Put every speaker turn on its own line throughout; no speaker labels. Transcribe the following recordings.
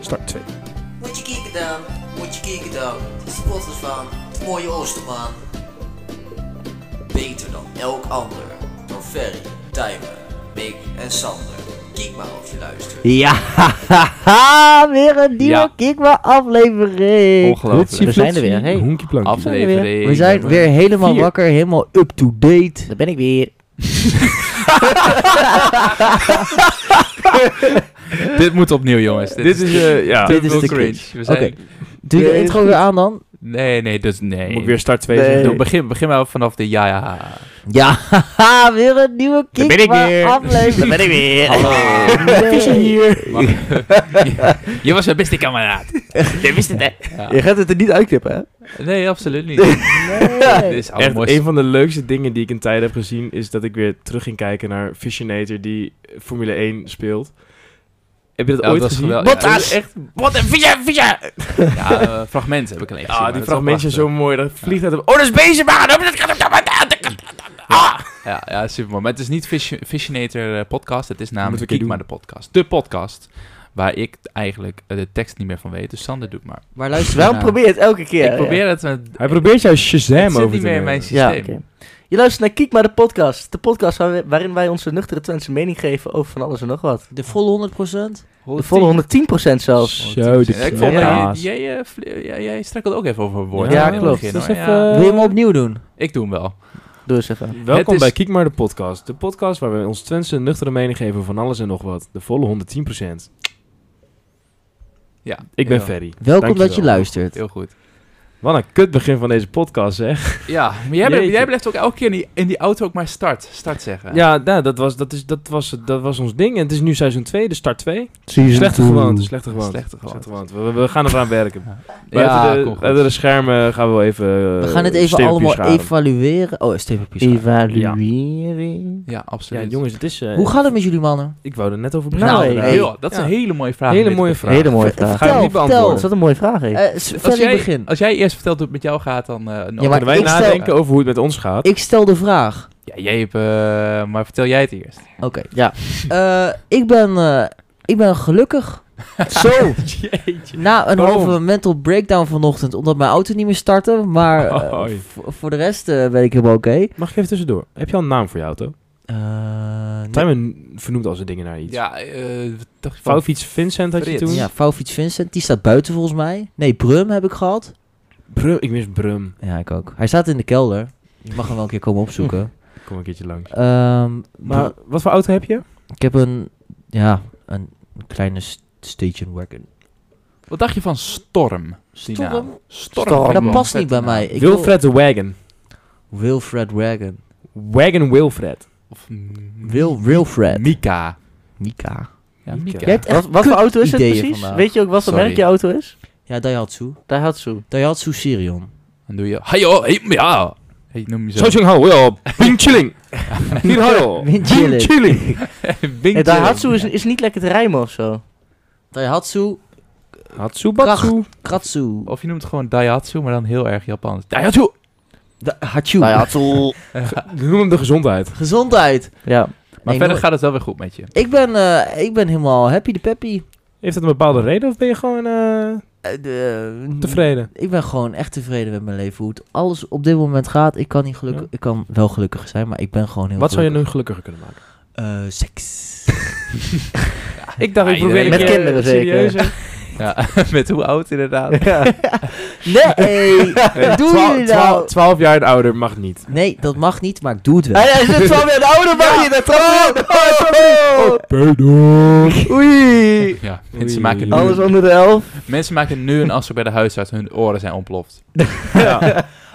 Start 2.
Moet je kijken dan, moet je kijken dan. De supporters van het mooie Oosterman. Beter dan elk ander. Door Ferry, Tijmen, Mick en Sander. Kijk maar of je luistert.
Ja, haha, weer een nieuwe
Ja.
Kikma aflevering.
Ongelooflijk.
We zijn er weer, hey.
Hoenkie plankje.
We zijn er weer.
Aflevering
We zijn
nummer
weer helemaal
vier.
wakker, helemaal up-to-date. Daar ben ik weer.
Dit moet opnieuw, jongens. Dit,
Dit is, eh, ja.
Dit is de
We
Oké.
zijn...
Doe je de intro weer aan dan?
Nee, nee, dus nee.
Moet ik weer start 2
Nee.
Doe- begin, begin maar vanaf de ja, ja.
Ja, haha, weer een nieuwe
Daar ben ik weer.
Kikma aflevering.
Daar ben
ik weer.
Hallo.
je hier.
Je was mijn beste kameraad.
Je wist het, hè?
Ja.
Je gaat het er niet uitknippen, hè?
Nee, absoluut niet. Dit
Nee.
is
Echt,
allemaal
een van de leukste dingen die ik in tijden heb gezien is dat ik weer terug ging kijken naar Visionator die Formule 1 speelt. Heb je dat
Ja,
ooit
dat is
gezien?
geweldig.
Dat is echt, wat een Vision, Vision!
Ja, eh, fragmenten heb ik alleen gezien.
Ah,
maar
die
dat is wel
fragmenten zijn zo
prachtig.
mooi. Dat vliegt uit hem. Oh, dat is bezig, maar dat Ah!
Ja, ja, super mooi. Maar het is niet Vision- Visionator eh, podcast. Het is
Moeten we een
namelijk
keer
Kiek maar de
doen.
podcast. De podcast waar ik eigenlijk eh, de tekst niet meer van weet. Dus Sander doet maar.
Maar luister, wel
Ja.
probeer het elke keer.
ik
hè?
probeer het. met-
Hij probeert jou
het
Shazam
zit
over te
niet meer
nemen.
in mijn
Ja,
systeem.
oké. Je luistert naar Kiek maar de podcast. De podcast waar we- waarin wij onze nuchtere Twentse mening geven over van alles en nog wat. De volle 100%? De volle 110% zelfs.
Zo, de
Ja, ik vond,
knopdaas.
eh, jij, eh, fl- eh, jij, jij struikelde ook even over woorden.
Ja,
aan het
klopt.
begin,
Dat is
hoor.
Dus even-
Ja,
Wil je hem opnieuw doen?
ik doe hem wel.
Doe eens even.
Welkom
Het is-
bij Kiek maar de podcast. De podcast waar we ons Twentse een nuchtere mening geven over van alles en nog wat. De volle 110%.
Ja,
Ik ben
heel-
Ferry.
Welkom
Dankjewel.
dat je luistert.
Heel goed.
Wat een kut begin van deze podcast, zeg.
Ja, maar jij, bent-
Jeetje.
jij blijft ook elke keer in die, in die auto ook maar start, start zeggen.
Ja, nou, dat, was, dat, is, dat, was, dat was ons ding. En het is nu seizoen 2, de start 2.
Season
Slechte
two.
gewoonte, slechte gewoonte.
Slechte gewoonte.
gewoonte. We, we- we gaan eraan werken.
ja,
Buiten de,
kom goed.
buiten de schermen gaan we wel even... eh,
We
Eh,
gaan het even allemaal evalueren. Oh, stevenpies. Evalueren.
Ja,
Ja,
absoluut.
jongens, het is... eh,
Hoe gaat het met jullie mannen?
Ik wou er net over
Nou,
beginnen.
Nou,
inderdaad.
hey.
joh, dat is een hele mooie vraag. om
Hele
mee te
mooie
beginnen.
vraag.
mooie vraag.
Ga je hem niet
vertel.
beantwoorden.
Dat een mooie vraag, hè?
Als jij,
Eh, begin.
als jij eerst vertelt hoe het met jou gaat, dan... eh, dan
Ja, maar
Kunnen wij
ik stel-
nadenken over hoe het met ons gaat?
Ik stel de vraag.
Ja, jij hebt... eh, maar vertel jij het eerst.
Oké, ja. Eh, ik, ben, eh, ik ben gelukkig. Zo. Na een
Waarom?
halve mental breakdown vanochtend, omdat mijn auto niet meer startte. Maar eh,
Hoi.
v- voor de rest eh, ben ik helemaal oké.
Mag ik even tussendoor? Heb je al een naam voor je auto?
Eh, nee.
Tijmen vernoemt al zijn dingen naar iets.
Ja, eh, wat dacht je van-
Vouwfiets Vincent had je
Frits.
toen?
Ja, Faufiets Vincent, die staat buiten volgens mij. Nee, Brum heb ik gehad.
Brum, ik mis Brum.
Ja, ik ook. Hij staat in de kelder. Je mag hem wel een keer komen opzoeken.
Kom een keertje langs.
Ehm,
Maar wat voor auto heb je?
ik heb een, ja, een kleine st- station wagon.
Wat dacht je van Storm? die
Storm?
naam? Storm.
Maar
vind ik
dat
wel
past
een
niet bij
vette
mij.
Oh, naam.
Ik wil-
Wilfred de Wagon.
Wilfred Wagon.
Wagon Wilfred.
Of mm,
Wil, Wilfred.
Mika.
Mika.
Ja,
Mika.
Mika.
Jij hebt
Wat, wat voor auto is het
ideeën
precies?
vandaag.
Weet je ook wat voor
Sorry.
merk je auto is?
Ja, Daihatsu.
Daihatsu.
Daihatsu Sirion.
Dan doe je... Hayo, hey, ja. Hey, noem je zo.
Zo Hao, ja. Bing Chilling. Hier Hao.
Bing Chilling.
Chilling.
Wink
Nee, Eh, Daihatsu is,
Ja.
is niet lekker te rijmen of zo.
Daihatsu
Hatsubatsu.
Kratsu.
Of je noemt het gewoon Daihatsu, maar dan heel erg Japans. Daihatsu!
Da Hachu.
Daihatsu.
Noem hem de gezondheid.
Gezondheid.
Ja.
Maar
Nee,
verder
nooit.
gaat het wel weer goed met je.
Ik ben, eh, ik ben helemaal happy de peppy.
Heeft dat een bepaalde reden of ben je gewoon eh,
Eh, de-
tevreden?
Ik ben gewoon echt tevreden met mijn leven. Hoe het alles op dit moment gaat. Ik kan, niet gelukkig,
Ja.
ik kan wel gelukkig zijn, maar ik ben gewoon heel
Wat zou je nu gelukkiger kunnen maken?
je nu... seks.
Ik dacht,
Ja,
ik probeer
iedereen-
een
Met
keer eh,
kinderen zeker.
serieuzer.
Ja, met hoe oud inderdaad.
nee, doe
Twa-
jullie
twa-
nou?
Eh, Twaalf jaar en ouder mag niet.
Nee, dat mag niet, maar ik doe het wel.
Hij hij zit wel weer een oude man hier. Dat trapt
Oh,
Pedo.
Oei.
Ja,
Oh, Oei.
mensen maken,
Alles
Alles
nu,
onder de elf.
mensen maken nu een afspraak bij de huisarts. Hun oren zijn ontploft.
Ja.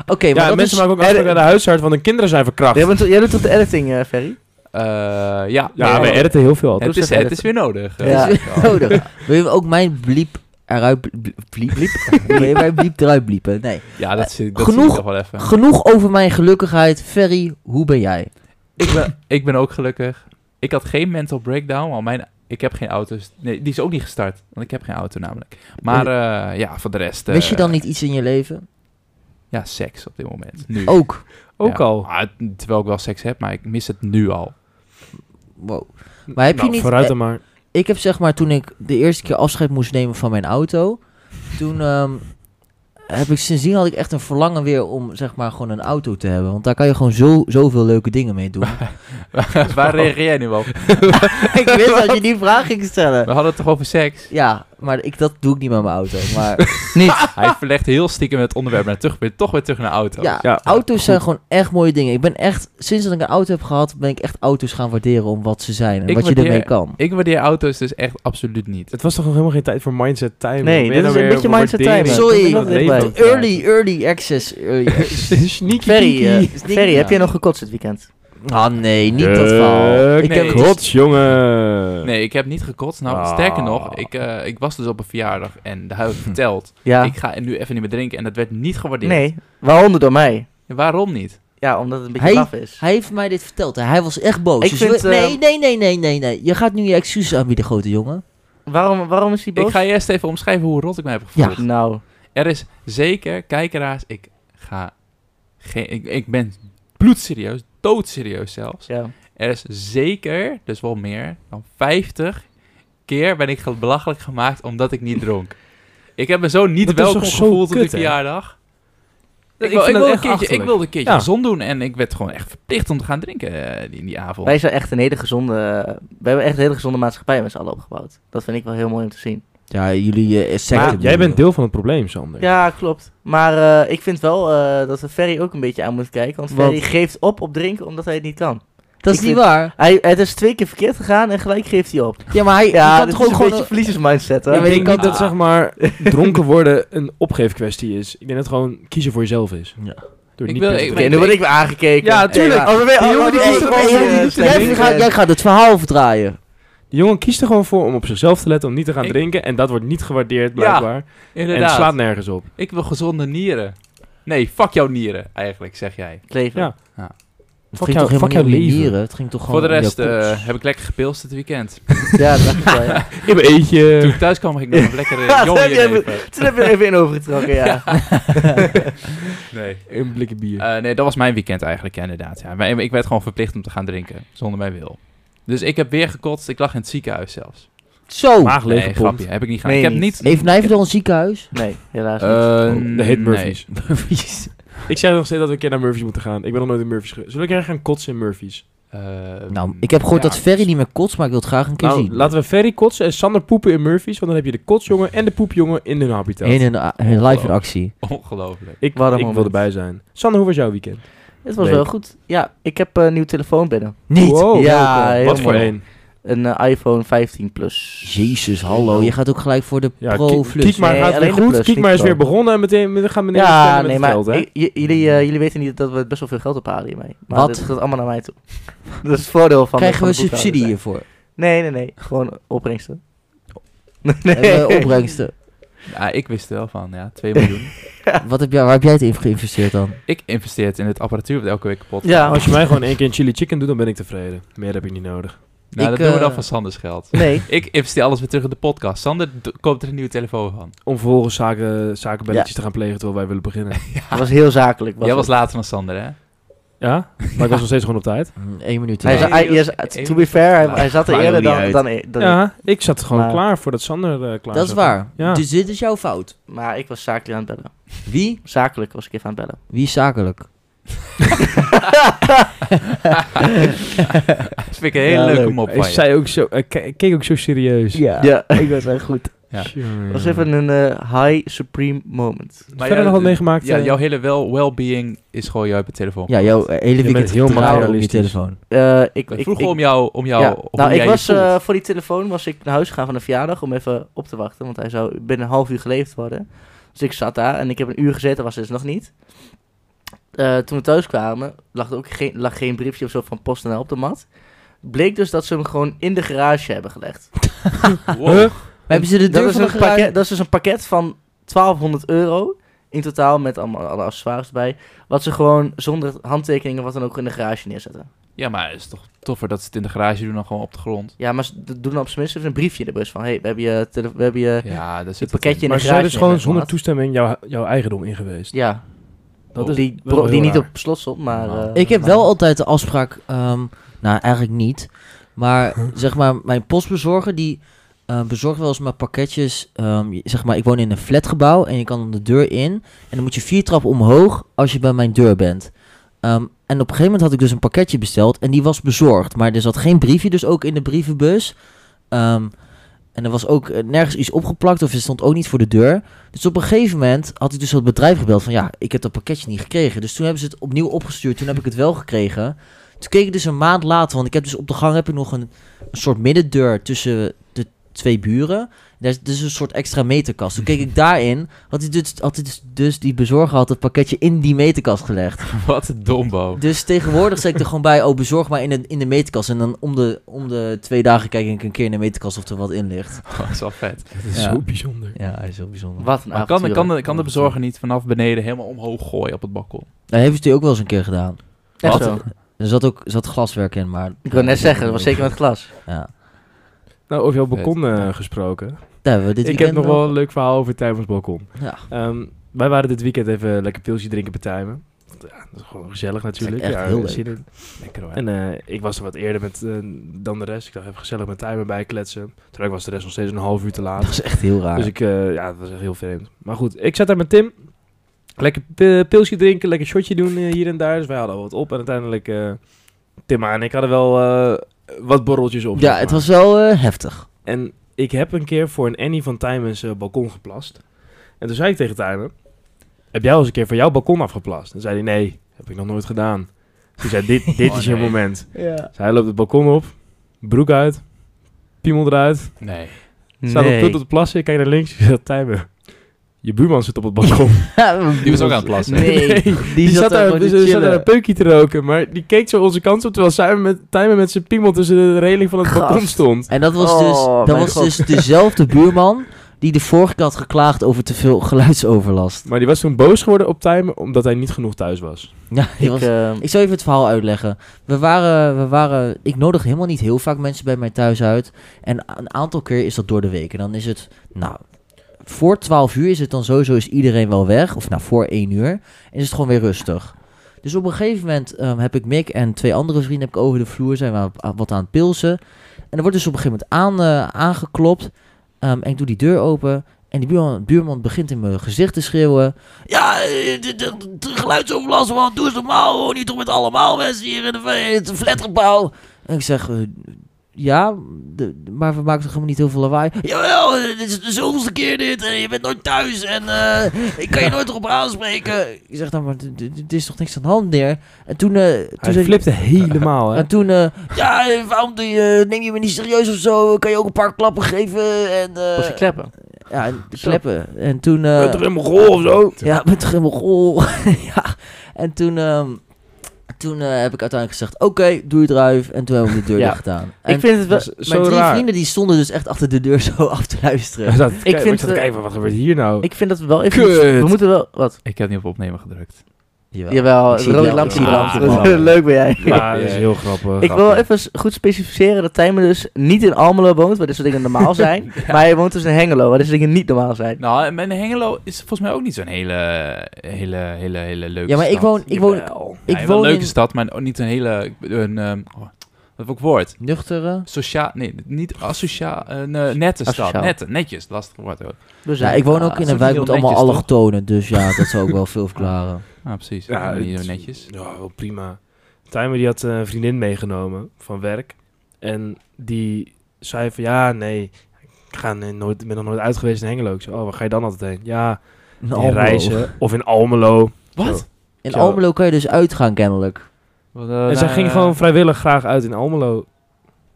Oké, maar
ja,
dat
mensen
is...
maken ook afspraken naar de huisarts, want hun kinderen zijn verkracht.
Jij, bent, jij doet toch de editing, eh, Ferry?
Eh, ja,
ja,
Nee,
wij editen heel veel. Dus
het, is, het is weer nodig.
Ja.
Eh,
Oh, nodig. Wil je ook mijn bliep eruit... blie- Bliep? bliep? Wil je mijn bliep eruit bliepen? Nee.
Ja, dat, zie- dat
Genoeg-
zie ik toch wel even.
Genoeg over mijn gelukkigheid. Ferry, hoe ben jij?
Ik ben, ik ben ook gelukkig. Ik had geen mental breakdown, want mijn, ik heb geen auto's. Nee, die is ook niet gestart, want ik heb geen auto namelijk. Maar eh, ja, voor de rest... eh,
Wist je dan niet iets in je leven?
Ja, seks op dit moment. Nu.
Ook.
Ook
Ja.
al.
Ah, terwijl ik wel seks heb, maar ik mis het nu al.
Wow. Maar heb je
Nou,
niet... eh,
vooruit dan maar.
ik heb zeg maar toen ik de eerste keer afscheid moest nemen van mijn auto, toen ehm, heb ik sindsdien had ik echt een verlangen weer om zeg maar gewoon een auto te hebben. Want daar kan je gewoon zo, zoveel leuke dingen mee doen.
Waar reageer jij nu op?
ik wist dat je die vraag ging
We
stellen.
hadden het toch over seks?
Ja, maar ik, dat doe ik niet met mijn auto. Maar
Hij verlegt heel stiekem het onderwerp naar terug, weer, toch weer terug naar auto.
ja,
Ja,
auto's zijn
goed.
gewoon echt mooie dingen. Ik ben echt, sinds dat ik een auto heb gehad, ben ik echt auto's gaan waarderen om wat ze zijn en
Ik
wat je
waardeer-
ermee kan.
Ik waardeer auto's dus echt absoluut niet.
Het was toch nog helemaal geen tijd voor mindset time?
Nee, dit is een beetje mindset time.
Sorry,
dat is
leven.
bij.
Early, early access. Early access.
Sneaky
Ferry, eh,
Sneaky.
Ferry,
Ja.
heb jij nog gekotst dit weekend?
Ah nee, niet
Eh,
dat verhaal. Ik
nee.
heb
Klopt.
Kots, jongen.
Nee, ik heb niet gekotst. Nou,
Ah.
sterker nog, ik, eh, ik was dus op een verjaardag en daar heb ik verteld.
Ja.
Ik ga nu even niet meer drinken en dat werd niet gewaardeerd.
Nee, waaronder door mij.
Waarom niet?
Ja, omdat het een beetje
Hij-
laf is.
Hij heeft mij dit verteld. hè. Hij was echt boos.
Ik
Dus
vind,
we-
eh,
nee, nee, nee, nee, nee, nee. Je gaat nu je excuses aanbieden, grote jongen.
Waarom, waarom is hij boos?
Ik ga je eerst even omschrijven hoe rot ik me heb gevoeld.
Nou,
Er is zeker, kijkeraars, ik ga geen, ik, ik ben bloedserieus, doodserieus zelfs.
ja.
Er is zeker, dus wel meer dan 50 keer ben ik ge- belachelijk gemaakt omdat ik niet dronk. Ik heb me zo niet
Dat is
welkom
toch zo
gevoeld op de
kut, hè?
verjaardag.
Ik
Ik, wil,
vind
ik,
dat
wilde een
echt
keertje, ik
achterlijk.
wilde een keertje
Ja.
gezond doen en ik werd gewoon echt verplicht om te gaan drinken eh, in die avond.
Wij zijn echt een hele gezonde... eh, we hebben echt een hele gezonde maatschappij met z'n allen opgebouwd. Dat vind ik wel heel mooi om te zien.
Ja, jullie uh,
Maar jij bent deel van het probleem, Sander.
Ja, klopt. Maar eh, ik vind wel eh, dat we Ferry ook een beetje aan moeten kijken. Want
Wat?
Ferry geeft op op drinken omdat hij het niet kan.
Dat is
Ik
niet
vind-
waar.
Hij, het is twee keer verkeerd gegaan en gelijk geeft hij op.
Ja, maar hij
Ja,
je
dat
kan
dit
toch
is
ook
een
gewoon...
beetje verliezersmindset, hè?
Ja,
ik
maar je
denk
kan-
niet dat, zeg maar, dronken worden een opgeefkwestie is. Ik denk dat het gewoon kiezen voor jezelf is.
Ja.
Door
Ik
niet
wil-
per se
ik-
te
Oké, nu word ik weer aangekeken.
Ja, tuurlijk.
Hey, maar- oh, we-
Die
oh,
jongen die
oh,
kiest
oh,
ervoor,
oh,
die
eh,
doet
slecht
het
Jij
niet.
gaat, jij gaat het verhaal verdraaien.
De jongen kiest er gewoon voor om op zichzelf te letten, om niet te gaan
Ik-
drinken. En dat wordt niet gewaardeerd, blijkbaar. en het
Inderdaad.
slaat nergens op.
Ik wil gezonde nieren. Nee, fuck jouw nieren, eigenlijk, zeg jij.
Oh,
Leven.
Ja.
Het
Fuck
ging
jou-
toch helemaal
fuck
niet om
jouw
je
leven.
nieren. Het ging toch gewoon
Voor de
om
rest
je
eh,
kots.
heb ik lekker gepilst dit weekend.
Ja, dat dacht ik wel, ja.
Ik heb eentje.
Toen ik thuis kwam, ging ik nog eh, een lekkere
Ja,
jongen
dat heb je
nemen.
Toen heb je er even in overgetrokken, ja.
Nee.
Een blikje bier.
Eh, nee, dat was mijn weekend eigenlijk, ja, inderdaad. Ja. Maar ik werd gewoon verplicht om te gaan drinken, zonder mijn wil. Dus ik heb weer gekotst. Ik lag in het ziekenhuis zelfs.
Zo,
Maag
nee,
leeggepompt.
grapje. Heb ik niet gedaan.
Meen
ik heb
je
niet...
heeft Nijver door een ziekenhuis?
Nee, helaas niet.
Eh,
Oh, dat heet
nee.
Murphy's. Ik zei nog steeds dat we een keer naar Murphy's moeten gaan. Ik ben nog nooit in Murphy's geweest. Zullen we een keer gaan kotsen in Murphy's?
Eh,
nou, ik heb gehoord
ja.
dat Ferry niet meer kotst, maar ik wil het graag een keer
Nou,
zien.
laten we Ferry kotsen en Sander poepen in Murphy's. Want dan heb je de kotsjongen en de poepjongen in hun habitat.
Heen en a- live in
Ongelooflijk.
actie.
Ongelooflijk.
Ik,
Wat een
ik wil
moment.
erbij zijn. Sander, hoe was jouw weekend?
Het was
leuk.
wel goed. Ja, ik heb eh, een nieuw telefoon binnen.
Niet!
Wow,
Ja,
welkom.
heel
Wat voor
mooi.
een?
Een eh, iPhone 15 Plus.
Jezus, hallo. Je gaat ook gelijk voor de
Ja,
Pro
Kiek-
Plus.
Kiek maar
Nee,
gaat weer
alleen de
goed.
plus,
Kiek
niet
maar is
pro.
weer begonnen en meteen we gaan meneer
Ja,
vertellen
nee,
met
maar
het geld, hè?
ik- j- jullie, eh, jullie weten niet dat we best wel veel geld ophalen hiermee. Maar
Wat?
Wat? Dat gaat allemaal naar mij toe. dat is het voordeel van...
Krijgen
van
we
de boekhouder
subsidie
zijn.
hiervoor?
Nee, nee, nee. Gewoon opbrengsten.
Hebben we eh, opbrengsten?
Ja, ik wist er wel van, ja. 2 miljoen.
Wat heb jij, waar heb jij het in geïnvesteerd dan?
ik investeer het in het apparatuur wat elke week kapot
Ja,
Als je mij gewoon één keer een chili chicken doet, dan ben ik tevreden. Meer heb ik niet nodig.
Nou,
ik,
dat doen we
eh,
dan van Sanders geld.
nee.
Ik investeer alles weer terug in de podcast. Sander d- koopt er een nieuwe telefoon van.
Om vervolgens zaken, zakenbelletjes te gaan plegen terwijl wij willen beginnen.
Dat was heel zakelijk. Was
Jij was
het.
later dan Sander, hè?
Ja? Maar ik was nog steeds gewoon op tijd.
Eén minuut. te
hij
laat.
zat, hij, hij zat- to be fair, hij, hij zat er
Maakt
eerder
ook niet
dan,
uit.
dan, dan,
Ja, ik zat gewoon
Maar-
klaar voordat Sander eh, klaar
dat is
zat.
waar.
Ja.
Dus dit is jouw fout.
Maar ik was zakelijk aan het bellen.
Wie?
Zakelijk was ik even aan het bellen.
Wie is zakelijk?
Dat vind ik een hele
Ja,
leuke
leuk.
mop van
Ik
je.
zei ook zo, ik ke- ik keek ook zo serieus.
ik was echt goed.
Ja.
Tjonge.
Dat was even een eh, high supreme moment.
Verder nog wat meegemaakt?
Ja,
eh?
jouw hele wel well-being is gewoon jou op je telefoon.
Ja, jouw eh, hele weekend
heel
draaide op je
materialistisch.
telefoon.
Eh, ik,
Ik
ik-
vroeg
ik-
om jou, om jou,
ja.
om
Nou,
Oh, hoe
ik
jij
was
je voelt.
eh, voor die telefoon was ik naar huis gegaan van een verjaardag om even op te wachten, want hij zou binnen een half uur geleverd worden. Dus ik zat daar en ik heb een uur gezeten, was dus nog niet. Eh, toen we thuis kwamen, lag er ook geen, lag geen briefje of zo van PostNL op de mat. Bleek dus dat ze hem gewoon in de garage hebben gelegd.
Wow.
Huh?
Maar hebben ze de
Dat
deur
is,
van de
een
garage-
pakket, dat is dus een pakket van 1200 euro in totaal met allemaal alle accessoires erbij. Wat ze gewoon zonder handtekeningen wat dan ook in de garage neerzetten.
Ja, maar het is toch toffer dat ze het in de garage doen dan gewoon op de grond.
Ja, maar ze d- doen dan op zijn minst even een briefje in de bus van... hey, we hebben je... tele- We hebben je
Ja, dat zit
Eh, het
het
pakketje
in.
in
Maar
de
ze zijn
garage.
dus gewoon
neerzetten,
zonder
maat.
toestemming jouw, jouw eigendom in geweest.
Ja,
Dat is
die,
wel
bro-
heel
die niet
raar.
op slot stond, maar...
Nou,
eh,
Ik heb
maar-
wel altijd de afspraak, ehm, nou eigenlijk niet, Maar zeg maar, mijn postbezorger die eh, bezorgt wel eens mijn pakketjes. ehm, je- zeg maar, ik woon in een flatgebouw en je kan dan de deur in. En dan moet je vier trappen omhoog als je bij mijn deur bent. Ehm, en op een gegeven moment had ik dus een pakketje besteld en die was bezorgd. Maar er zat geen briefje dus ook in de brievenbus. Ehm, en er was ook eh, nergens iets opgeplakt of er stond ook niet voor de deur. Dus op een gegeven moment had ik dus het bedrijf gebeld van ja, ik heb dat pakketje niet gekregen. Dus toen hebben ze het opnieuw opgestuurd, toen heb ik het wel gekregen. Toen keek ik dus een maand later, want ik heb dus op de gang heb ik nog een, een soort middendeur tussen de twee buren. Daar is dus een soort extra meterkast. Toen keek ik daarin, had hij dus, had hij dus, dus die bezorger had het pakketje in die meterkast gelegd.
Wat een dombo.
Dus tegenwoordig zeg ik er gewoon bij, oh bezorg maar in de, in de meterkast. En dan om de, om de twee dagen kijk ik een keer in de meterkast of er wat in ligt.
Dat is wel vet.
Dat is
Ja.
zo bijzonder.
Ja, hij is heel bijzonder.
Wat een
Maar kan,
avontuur.
kan, de, kan de bezorger niet vanaf beneden helemaal omhoog gooien op het balkon?
Dat heeft hij ook wel eens een keer gedaan.
Echt
Wat?
zo.
Er zat ook er zat glaswerk in, maar...
Ik wil net zeggen, dat was zeker met glas.
Ja.
Nou, over jouw balkon eh, gesproken.
Daar hebben we dit
ik heb
weekend
nog wel een leuk verhaal over Tijmans balkon.
Ja.
Ehm, wij waren dit weekend even lekker pilsje drinken bij Tijmen. Ja, dat is gewoon gezellig natuurlijk.
echt
ja,
heel leuk.
zin in.
Lekker hoor.
En eh, ik was er wat eerder met, eh, dan de rest. Ik dacht even gezellig met Tijmen bijkletsen. Terwijl ik was de rest nog steeds een half uur te laat.
Dat is echt heel raar.
Dus ik, eh, ja, dat was echt heel vreemd. Maar goed, ik zat daar met Tim. Lekker pi- pilsje drinken, lekker shotje doen eh, hier en daar. Dus wij hadden wat op. En uiteindelijk, eh, Tim en ik hadden wel eh, wat borreltjes op.
ja,
zeg
het
maar.
was wel eh, heftig.
En ik heb een keer voor een Annie van Tijmen's eh, balkon geplast. En toen zei ik tegen Tijmen, heb jij al eens een keer van jouw balkon afgeplast? En zei hij, nee, heb ik nog nooit gedaan. Toen zei dit, dit
Oh,
is je
nee.
moment. Dus hij loopt het balkon op, broek uit, piemel eruit.
Nee.
Staat op punt op te plassen, ik kijk naar links. Ik zei, Tijmen, je buurman zit op het balkon.
Die was ook aan het plassen.
Nee,
die,
zat daar
zat, daar,
gewoon te
dus, zat daar
chillen.
een peukje te roken. Maar die keek zo onze kant op, terwijl Tijmen met, Tijmen met zijn piemel tussen de reling van het
Gast.
balkon stond.
En dat was,
Oh,
dus, dat
mijn
was
god.
dus dezelfde buurman die de vorige keer had geklaagd over te veel geluidsoverlast.
Maar die was toen boos geworden op Tijmen, omdat hij niet genoeg thuis was.
Ja, die
Ik,
was...
eh,
Ik zal even het verhaal uitleggen. We waren, we waren, ik nodig helemaal niet heel vaak mensen bij mij thuis uit. En a- een aantal keer is dat door de week. En dan is het, nou, voor 12 uur is het dan sowieso is iedereen wel weg. Of nou, voor 1 uur. En is het gewoon weer rustig. Dus op een gegeven moment ehm, heb ik Mick en twee andere vrienden heb ik over de vloer. Zijn we aan- aan- wat aan het pilsen. En er wordt dus op een gegeven moment aan, eh, aangeklopt. Ehm, en ik doe die deur open. En die buurman, buurman begint in mijn gezicht te schreeuwen. Ja, eh, de, de, de geluidsoverlast, man. Doe eens normaal. Hoor niet toch met allemaal mensen hier in, de, in het flatgebouw. En ik zeg, eh, ja, de- maar we maken toch helemaal niet heel veel lawaai. Jawel, eh, dit is de zoveelste keer dit. En je bent nooit thuis. En eh, ik kan je nooit erop aanspreken. Ik zeg, nou, maar d- d- d- er is toch niks aan de hand, neer. En toen... eh, toen
Hij
zei-
flipte helemaal, hè?
en toen, eh, ja, eh, waarom doe je, neem je me niet serieus of zo? Kan je ook een paar klappen geven? En, eh,
was je kleppen?
ja, en de kleppen. En toen... eh,
Rummel of zo.
ja, met Grimmel. ja. En toen, ehm, toen eh, heb ik uiteindelijk gezegd, oké, doe je druif. En toen hebben we de deur
Ja.
dicht gedaan. En
ik vind het wel...
Dat is
mijn
zo
drie
raar.
vrienden die stonden dus echt achter de deur zo af te luisteren.
Hij zat te kijken,
vind
ik zat te
het-
kijken, wat gebeurt hier nou?
Ik vind dat we wel even...
Kut.
We moeten wel... Wat?
Ik heb niet op opnemen gedrukt.
Jawel.
Jawel,
Ik zie
rood
het wel.
lampje
Ik zie
brandt.
het wel.
Leuk ben jij.
Ja, dat is heel grappig.
Ik wil even s- goed specificeren dat Tijmen dus niet in Almelo woont, waar dit soort dingen normaal zijn. Maar hij woont dus in Hengelo, waar dit soort dingen niet normaal zijn.
Nou, en mijn Hengelo is volgens mij ook niet zo'n hele, hele, hele, hele leuke
Ja, maar ik
stad.
woon, ik woon
Ik
ik
ja,
woon
wel een leuke
in-
stad, maar niet een hele... Een, ehm, oh, wat heb ik woord?
nuchtere...
Sociaal... Nee, niet asociaal. Een eh, nette stad.
Asociaal.
Nette, netjes. Lastig woord hoor.
Dus
Ja, ik woon ook
dat
in
is
een
ook
wijk
heel
met allemaal
netjes, toch?
allochtonen, dus ja, dat zou ook wel veel verklaren.
Ah, precies.
Ja,
Ja, niet
het-
zo netjes.
Ja, wel prima. Timer die had eh, een vriendin meegenomen van werk. En die zei van, ja, nee, ik ga eh, nooit, ik ben nog nooit uit geweest in Hengelo. Ik zei, oh, waar ga je dan altijd heen? Ja,
In
in
Almelo.
Reizen of in Almelo.
Wat?
Zo.
In Almelo kan je dus uitgaan, kennelijk.
Wat, eh,
En zij
eh,
ging gewoon vrijwillig graag uit in Almelo.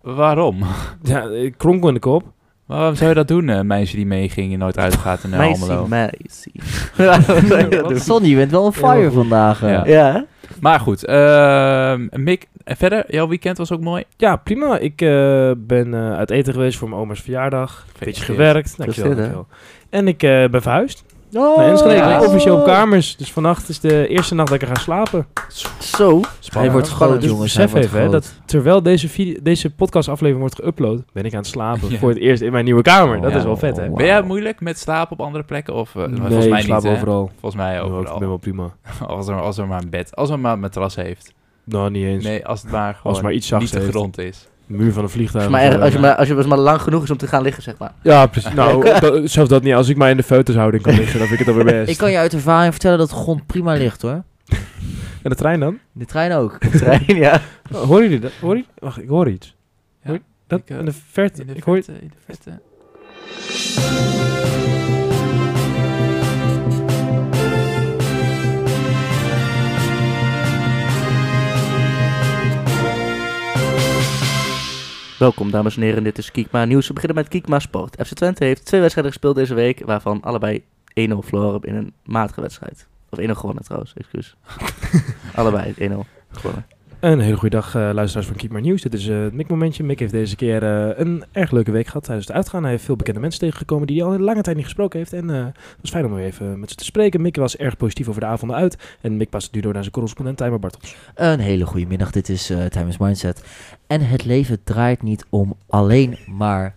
Waarom?
Ja, ik kronkel in de kop.
Waarom zou je dat doen, eh, meisje die meeging en nooit uitgaat in eh, Almelo?
Meisje, meisje. Ja, wat zou je dat doen?
Sonny, je bent wel een fire vandaag. eh.
Ja.
Ja, hè?
Maar goed, ehm, Mick, en verder, jouw weekend was ook mooi.
Ja, prima. Ik eh, ben eh, uit eten geweest voor mijn oma's verjaardag. Een beetje gewerkt. Dankjewel,
Gefeliciteerd, hè?
dankjewel. En ik eh, ben verhuisd.
Oh,
Naar Enschede.
ja.
Ik lig officieel op kamers. Dus vannacht is de eerste nacht dat ik er ga slapen.
Zo.
Hij wordt groot,
Spannend. Dus
jongens.
besef
hij wordt
even, hè,
groot.
dat terwijl deze, video, deze podcastaflevering wordt geüpload, ben ik aan het slapen
Ja.
voor het eerst in mijn nieuwe kamer. Dat
Ja. oh,
is wel vet, hè?
Wauw.
Ben jij moeilijk met slapen op andere plekken? Of, eh, volgens
nee,
mij
ik slaap
niet, hè?
overal.
Volgens mij
Nou, ik
overal.
ben wel prima.
Als, er, als er maar een bed, als er maar een matras heeft.
Nou, niet eens.
Nee, als het maar gewoon
Als het maar iets zacht
niet de
heeft.
grond is.
muur van een
eh,
Als
vliegtuig.
je maar,
of zo.
erg- als je maar, als je maar lang genoeg is om te gaan liggen, zeg maar.
Ja, precies. Nou, dat- zelfs dat niet. Als ik maar in de feutushouding kan liggen, dan vind ik het alweer best.
Ik kan je uit ervaring vertellen dat de grond prima ligt hoor.
En de trein dan?
De trein ook.
Trein, ja.
Oh, horen jullie dat? Hoor je? Wacht, ik hoor iets.
Ja,
Hoor je dat?
ik, eh,
in de verte.
In de
ik hoor
verte, in de verte.
Welkom, dames en heren. Dit is Kiekma Nieuws. We beginnen met Kiekma Sport. FC Twente heeft twee wedstrijden gespeeld deze week, waarvan allebei 1-0 verloren in een matige wedstrijd. Of 1-0 gewonnen trouwens, excuus. allebei 1-0 gewonnen.
Een hele goede dag, eh, luisteraars van Keep My News. Dit is eh, het Mick-momentje. Mick heeft deze keer eh, een erg leuke week gehad tijdens het uitgaan. Hij heeft veel bekende mensen tegengekomen die hij al een lange tijd niet gesproken heeft. En eh, het was fijn om weer even met ze te spreken. Mick was erg positief over de avonden uit. En Mick past het nu door naar zijn correspondent Tijmer Bartels.
Een hele goede middag. Dit is eh Time is Mindset. En het leven draait niet om alleen maar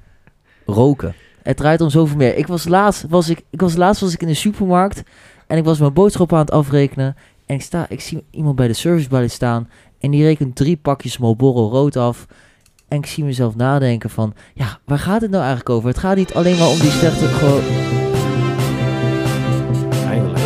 roken. Het draait om zoveel meer. Ik was laatst was ik, ik was laatst was ik in de supermarkt en ik was mijn boodschap aan het afrekenen en ik sta ik zie iemand bij de servicebalie staan en die rekent drie pakjes Marlboro rood af. En ik zie mezelf nadenken van, ja, waar gaat het nou eigenlijk over? Het gaat niet alleen maar om die slechte... Gewoon...
Eindelijk.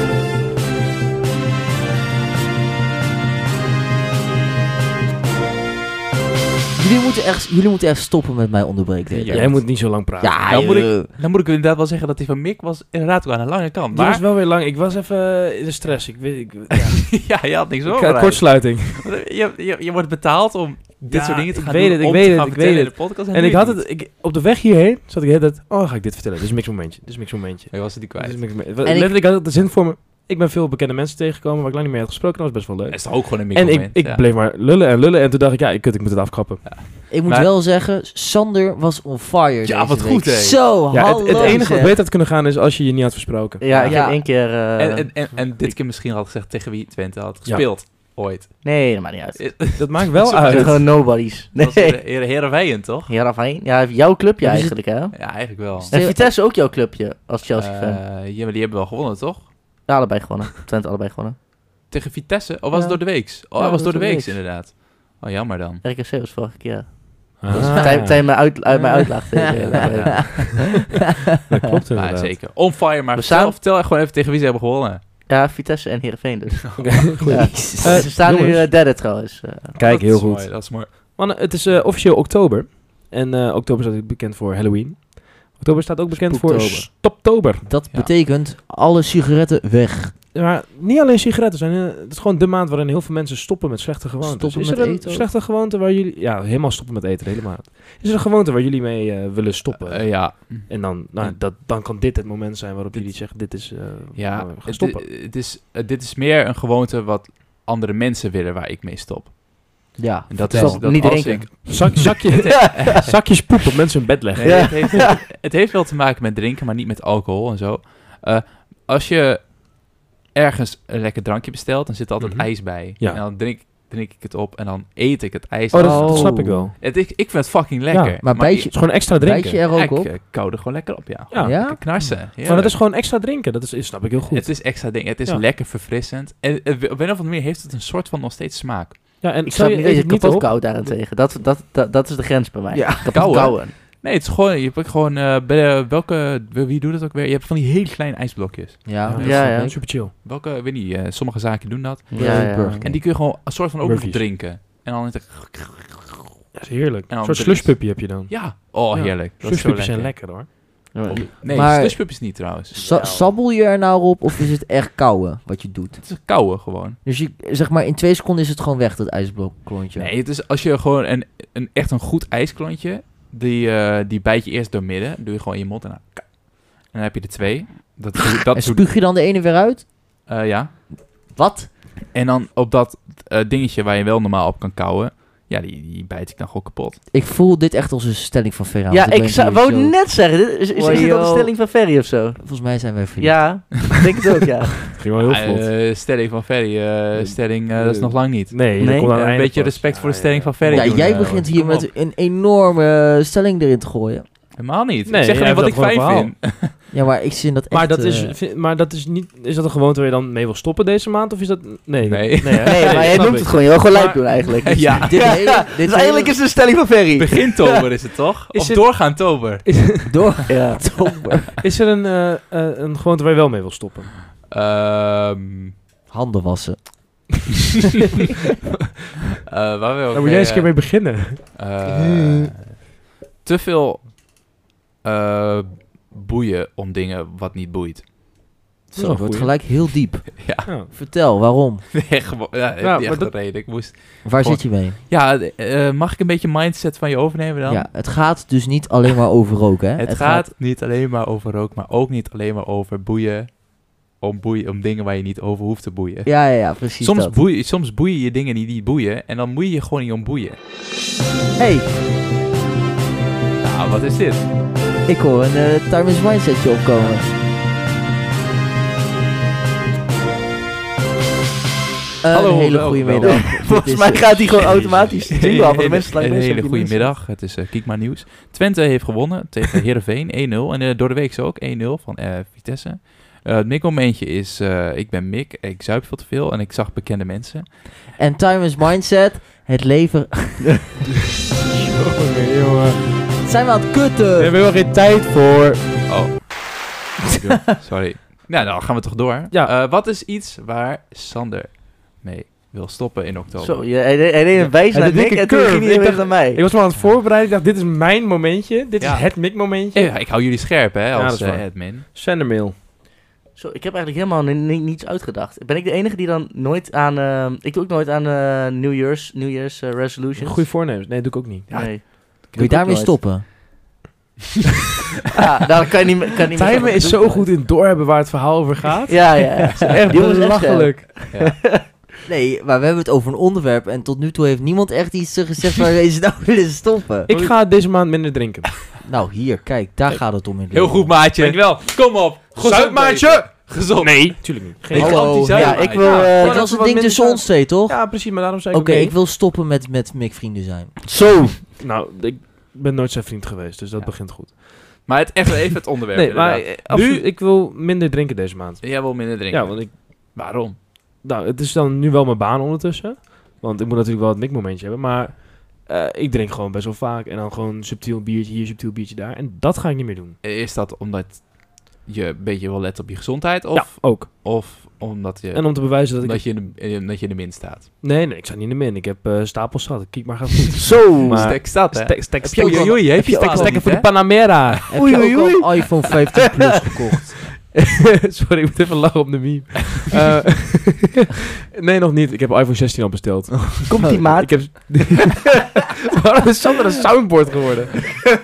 Jullie moeten echt, jullie moeten echt stoppen met mij onderbreken.
Ja,
Jij moet niet zo lang praten.
Ja,
Nou moet ik-
joh.
Dan moet ik inderdaad wel zeggen dat die van Mick was inderdaad ook aan de lange kant.
eh. Die was
Maar
wel weer lang. Ik was even eh, in de stress. Ik weet, ik, ja.
ja, je had niks
Ik-
over.
kortsluiting.
Je, je, je wordt betaald om dit
Ja,
soort dingen te
ik
gaan
weet
doen.
het, ik
om
weet
te
het,
gaan
ik
vertellen
weet
in de podcast.
En
nu
ik had
niet.
het, ik, op de weg hierheen zat ik de hele tijd, oh ga ik dit vertellen, dit is Mick's momentje, dit is Mick's momentje.
Ik was het niet
Dit is
kwijt.
Mick's momentje.
ik-
Letterlijk had Dus ik de zin voor me, ik ben veel bekende mensen tegengekomen waar ik lang niet mee had gesproken, dat was best wel leuk.
Dat is toch ook gewoon een Mick
En ik,
moment,
ik
ja.
bleef maar lullen en lullen. En toen dacht ik, ja, ik, kut, ik moet het afkappen.
Ik moet
Maar-
wel zeggen, Sander was on fire.
Ja,
deze
wat
week.
goed, hè?
Zo,
ja, het,
hallo.
het enige wat
zeg.
beter had kunnen gaan is als je je niet had versproken.
Ja, ik
Ja.
heb één keer... eh,
en, en, en, en dit keer misschien had gezegd tegen wie Twente had gespeeld. Ooit.
Nee, dat maakt niet uit. Het
Dat maakt wel
Zo,
uit.
zijn gewoon nobodies.
Dat was
Nee.
Heer- Heerenveen, toch?
Ja, Rafijn. Ja, jouw clubje
Ja, dus
eigenlijk, hè?
Ja, eigenlijk wel.
En Vitesse ook jouw clubje als Chelsea-fan.
Eh, ja, maar die hebben wel gewonnen, toch?
Ja, allebei gewonnen. Twente allebei gewonnen.
Tegen Vitesse? Oh, was
Ja.
het door de weeks? Oh,
Ja,
hij was door de weeks,
weeks.
inderdaad. Oh, jammer dan.
RKC was vorige keer.
Ah,
Dus Tijn- Tijn mij uit, uit mij uitlacht.
dat klopt
Maar
inderdaad.
zeker. On fire, maar
We
vertel,
staan-
vertel gewoon even tegen wie ze hebben gewonnen.
Ja, Vitesse en Heerenveen dus.
Goed.
Ja.
Eh,
Ze staan nu
jongens.
eh, derde trouwens. eh.
Kijk,
Dat
heel
is mooi,
goed.
dat is mooi.
Mannen, het is eh, officieel oktober. En eh, oktober staat ook bekend voor Halloween. Oktober staat ook bekend voor
Spooktober.
stoptober.
Dat
Ja.
betekent alle sigaretten weg.
Maar niet alleen sigaretten zijn. eh, Het is gewoon de maand waarin heel veel mensen stoppen met slechte gewoontes.
Stoppen
is
met
er een
eten ook.
slechte gewoonte waar jullie... Ja, helemaal stoppen met eten, de hele maand. Is er een gewoonte waar jullie mee eh, willen stoppen?
Eh, ja,
En dan, nou, dat, dan kan dit het moment zijn waarop jullie zeggen, dit is... eh,
ja
waar we gaan
het,
stoppen.
het is, eh, dit is meer een gewoonte wat andere mensen willen waar ik mee stop.
Ja.
En dat
Vertel.
is dat
Niet
als
drinken.
ik-
Zak, zakje, zakjes poep op mensen in bed leggen.
Nee, het, heeft, het heeft wel te maken met drinken, maar niet met alcohol en zo. Eh, als je ergens een lekker drankje bestelt, dan zit er altijd
Mhm.
ijs bij.
Ja.
En dan drink, drink ik het op en dan eet ik het ijs.
Oh, dat,
eraf.
dat snap ik wel.
Het, ik, ik vind het fucking lekker.
Ja,
Maar bijt
Het
je,
is gewoon extra
bijt
drinken.
je er ook
ik,
op?
eh, kou er gewoon lekker op, ja.
Ja,
Ja?
Lekker knarsen.
maar dat
heerlijk.
is gewoon extra drinken. Dat is, dat snap ik heel goed.
Het is extra ding. Het is
Ja.
lekker verfrissend. En eh, op een of andere manier heeft het een soort van nog steeds smaak.
ja, en
Ik
stel
snap
je eet
niet dat je
het niet
kapot
op.
koud daarentegen. Dat, dat, dat, dat is de grens bij mij.
Ja,
kapot
kauwen.
kauwen.
Nee, het is gewoon... Je hebt gewoon... eh, bij, eh, welke... Wie doet dat ook weer? Je hebt van die hele kleine ijsblokjes.
Ja,
Ja.
dat
ja,
snap
ja.
ik. Super chill.
Welke... Weet niet. eh, sommige zaken doen dat.
Ja, ja.
Burger King.
En die kun je gewoon een soort van ook nog
Murphy's.
drinken. En dan... is het-
Dat is heerlijk.
En
Een
dan
soort
drinken.
slushpuppy heb je dan.
Ja. Oh,
Ja.
heerlijk. Dat is zo
Slushpuppies
lekker.
zijn lekker hoor.
Nee,
Maar-
slushpuppies niet trouwens.
Sa- sabbel je er nou op of is het echt kouwen wat je doet?
Het is kouwen gewoon.
Dus je, zeg maar, in twee seconden is het gewoon weg, dat ijsblokklontje.
Nee, het is als je gewoon een, een echt een goed ijsklontje, die, eh, die bijt je eerst door midden, doe je gewoon in je mond en dan, en dan heb je er twee. Dat, doe- dat
en
doe-
spuug je dan de ene weer uit?
eh, ja.
Wat?
En dan op dat eh, dingetje waar je wel normaal op kan kouwen, ja, die, die bijt ik dan gewoon kapot.
Ik voel dit echt als een stelling van Ferra.
Ja,
want
ik
ben
zou,
hier
wou
zo-
net zeggen. Dit is, is, is dit al de
Wajo.
stelling van Ferry of zo?
Volgens mij zijn wij vrienden.
Ja, ik denk het ook, ja.
Het ging wel heel
Ah,
vlot.
eh, stelling van Ferry, eh,
Eh,
stelling, eh, dat is
eh,
nog lang niet.
Nee,
nee,
dat komt aan het
een
einde
beetje
pas.
respect voor de
Ja,
stelling
ja.
van Ferry.
Ja,
doen,
jij
eh,
begint
kom
hier
op.
met een enorme eh, stelling erin te gooien.
Helemaal niet.
Nee,
ik zeg
jij
alleen wat ik
hebt dat
fijn
gewoon
vind.
Ja, maar ik zie dat echt...
Maar, dat is,
eh,
vi- maar dat is niet. Is dat een gewoonte waar je dan mee wil stoppen deze maand? Of is dat. Nee.
Nee.
hè?
Nee, maar jij
snap
noemt
ik.
het gewoon. Je wil gewoon lijp
Maar-
doen eigenlijk.
ja,
dit
Ja,
hele, dit
Dus eigenlijk is het een stelling van Ferry.
begin tober is het toch?
Is
of
het-
doorgaan tober?
hele door...
Ja.
Is er een, eh, eh, een gewoonte waar je wel mee wil stoppen?
Ehm
Handen wassen.
eh, waar wil ik
Daar moet jij eens een
eh,
keer mee beginnen.
eh, te veel eh, boeien om dingen wat niet boeit.
is
Zo,
wel
het wordt
goed.
gelijk heel diep.
Ja,
Ja.
Vertel, waarom?
nee, gewoon, ja, ik heb
Ja,
niet
maar
echt
dat-
een reden. Ik moest...
Waar
Goh.
zit je mee?
Ja, eh, eh, mag ik een beetje mindset van je overnemen dan?
Ja, het gaat dus niet alleen maar over roken, hè?
Het, gaat, niet alleen maar over rook, maar ook niet alleen maar over boeien. Om, boeien, om dingen waar je niet over hoeft te boeien.
Ja, ja, ja, precies
soms,
dat.
boeien soms boeien je dingen die niet boeien en dan moet je je gewoon niet om boeien.
hey,
Nou, wat is dit?
ik hoor een eh Time is Mindsetje opkomen. Een
Hallo,
hele
welkom,
goede
welkom.
middag. Dit
Volgens
is
mij
het.
gaat hij gewoon automatisch de jingle af. Want de
Een
mensen slaan
hele-
mensen
Een hele
op die
goede
mensen.
middag. Het is eh, Kiekma Nieuws. Twente heeft gewonnen tegen Heerenveen 1-0. En eh, door de week is ook 1-0 van eh, Vitesse. Eh, het Mick-momentje is, eh, ik ben Mick, ik zuip veel te veel en ik zag bekende mensen.
En Time is Mindset, het leven...
Jongen, jongen.
Zijn we aan het kutten?
We hebben helemaal geen tijd voor.
Oh. Sorry. Nou, dan gaan we toch door.
Ja.
Eh, wat is iets waar Sander mee wil stoppen in oktober?
Zo, ja, hij deed- hij deed een wijs
Ja,
naar
de dikke
Nick en toen
curve.
ging hij
Ik
weer
dacht-
naar mij.
Ik was me aan het voorbereiden. Ik dacht, dit is mijn momentje. Dit
Ja.
is het mikmomentje.
Eh, ja, ik hou jullie scherp, hè,
Ja,
als
dat is
eh,
waar.
admin.
Sendermail.
Zo, ik heb eigenlijk helemaal ni- ni- niets uitgedacht. Ben ik de enige die dan nooit aan... eh, ik doe ook nooit aan eh, New Year's, New Year's eh, resolutions.
Goede voornemens. Nee, doe ik ook niet.
Ja,
Nee.
Kun je daarmee stoppen?
Ah, daar kan je niet, meer- kan je niet meer
Tijmen
zeggen,
is
dat doe
zo
ik
goed in doorhebben waar het verhaal over gaat.
nooit. Ja, ja. ja.
Echt
Die jongens is echt
eh,
eh,
belachelijk.
Nee, maar we hebben het over een onderwerp en tot nu toe heeft niemand echt iets eh, gezegd waar we ze nou willen stoppen.
Ik ga deze maand minder drinken.
Nou, hier, kijk, daar gaat het om in het
Heel
leven.
goed, maatje. Dankjewel. Kom op. Gezond, maatje. Gezond.
Nee, tuurlijk niet. Geen
Ik
Hallo.
anti-zuip,
Ja,
maatje.
ik wil... eh,
Ja,
Dat was
Laten we wat
het ding
minder
tussen ons twee, toch?
Ja, precies, maar daarom zei
Oké,
ik nee.
ik wil stoppen met, met Mick vrienden zijn.
Zo.
Nou, ik ben nooit zijn vriend geweest, dus dat
Ja.
begint goed.
Maar het echt even het onderwerp.
Nee, maar
inderdaad.
eh, nu, ik wil minder drinken deze maand.
jij wil minder drinken.
Ja, want ik,
Waarom?
nou, het is dan nu wel mijn baan ondertussen. Want ik moet natuurlijk wel het mikmomentje hebben, maar eh, ik drink gewoon best wel vaak. En dan gewoon subtiel biertje hier, subtiel biertje daar. En dat ga ik niet meer doen.
Is dat omdat je een beetje wil letten op je gezondheid? Of,
ja, ook.
of omdat je,
En om te bewijzen dat ik...
omdat je, in de, in- dat je in de min staat?
Nee, nee, ik sta niet in de min. Ik heb eh, stapels zat. Kijk maar, gaat goed.
Zo.
Maar-
Stek staat, hè?
Stek, stek,
je ook
stek,
al-
Oei, heb je
stek,
al
stekken
niet,
voor
hè?
de Panamera.
Heb
Oei,
je
oei,
ook al een iPhone 15 Plus gekocht?
Sorry, ik moet even lachen op de meme. Eh, nee, nog niet. Ik heb iPhone 16 al besteld.
Komt die maat?
Ik heb... Waarom is Sander een soundboard geworden?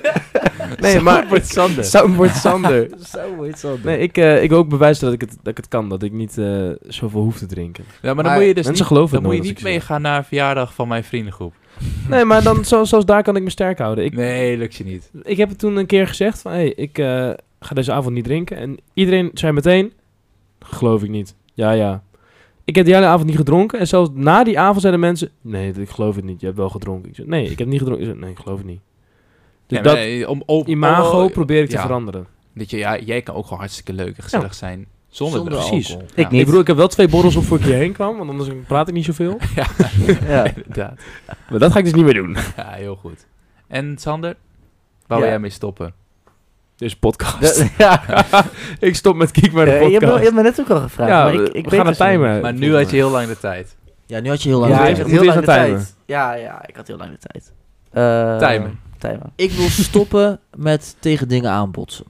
nee, maar...
Voor Sander.
Soundboard Sander.
Zo heet dat.
Nee, ik, eh, ik wil ook bewijzen dat ik het, dat ik het kan. Dat ik niet eh, zoveel hoef te drinken.
Ja, maar dan
Maar
moet je dus
Mensen
niet,
geloven
dan
het
moet je
nooit als
niet
ik zeg.
meegaan naar een verjaardag van mijn vriendengroep.
Nee, maar dan, zo, zoals daar kan ik me sterk houden. Ik,
Nee, lukt je niet.
ik heb het toen een keer gezegd van... Hé, hey, ik eh, ga deze avond niet drinken. En iedereen zei meteen... Geloof ik niet. Ja, ja. Ik heb die hele avond niet gedronken. En zelfs na die avond zeiden mensen... Nee, ik geloof het niet. Je hebt wel gedronken. Ik zei, nee, ik heb niet gedronken. Ik zei, nee, ik geloof het niet. Dus
Ja,
dat
maar, eh, om, om,
imago
om-
probeer ik te
ja.
veranderen.
Dat je, ja, jij kan ook gewoon hartstikke leuk en gezellig zijn zonder,
Zonder
drugs.
precies.
alcohol.
Ik
Ja.
Ik
niet.
bedoel, ik heb wel twee borrels op voor ik hierheen kwam. Want anders praat ik niet zoveel.
Ja,
Ja.
inderdaad.
Maar dat ga ik dus niet meer doen.
Ja, heel goed. En Sander, waar
Ja.
wil jij mee stoppen?
Dus podcast.
Dat- Ja.
ik stop met Kiek maar de
Eh, je, hebt me, je
podcast.
hebt me net ook al gevraagd.
Ja,
maar ik,
we-
ik weet
we gaan
het
het
niet.
timen.
maar nu had je heel lang de tijd.
Ja, nu had je heel lang.
Ja,
Moet
ik
eerst-
had
moet
heel
eerst
lang de
een timer.
tijd. Ja, ja, ik had heel lang de tijd. Eh,
Timer.
Timer.
Ik wil stoppen met tegen dingen aanbotsen.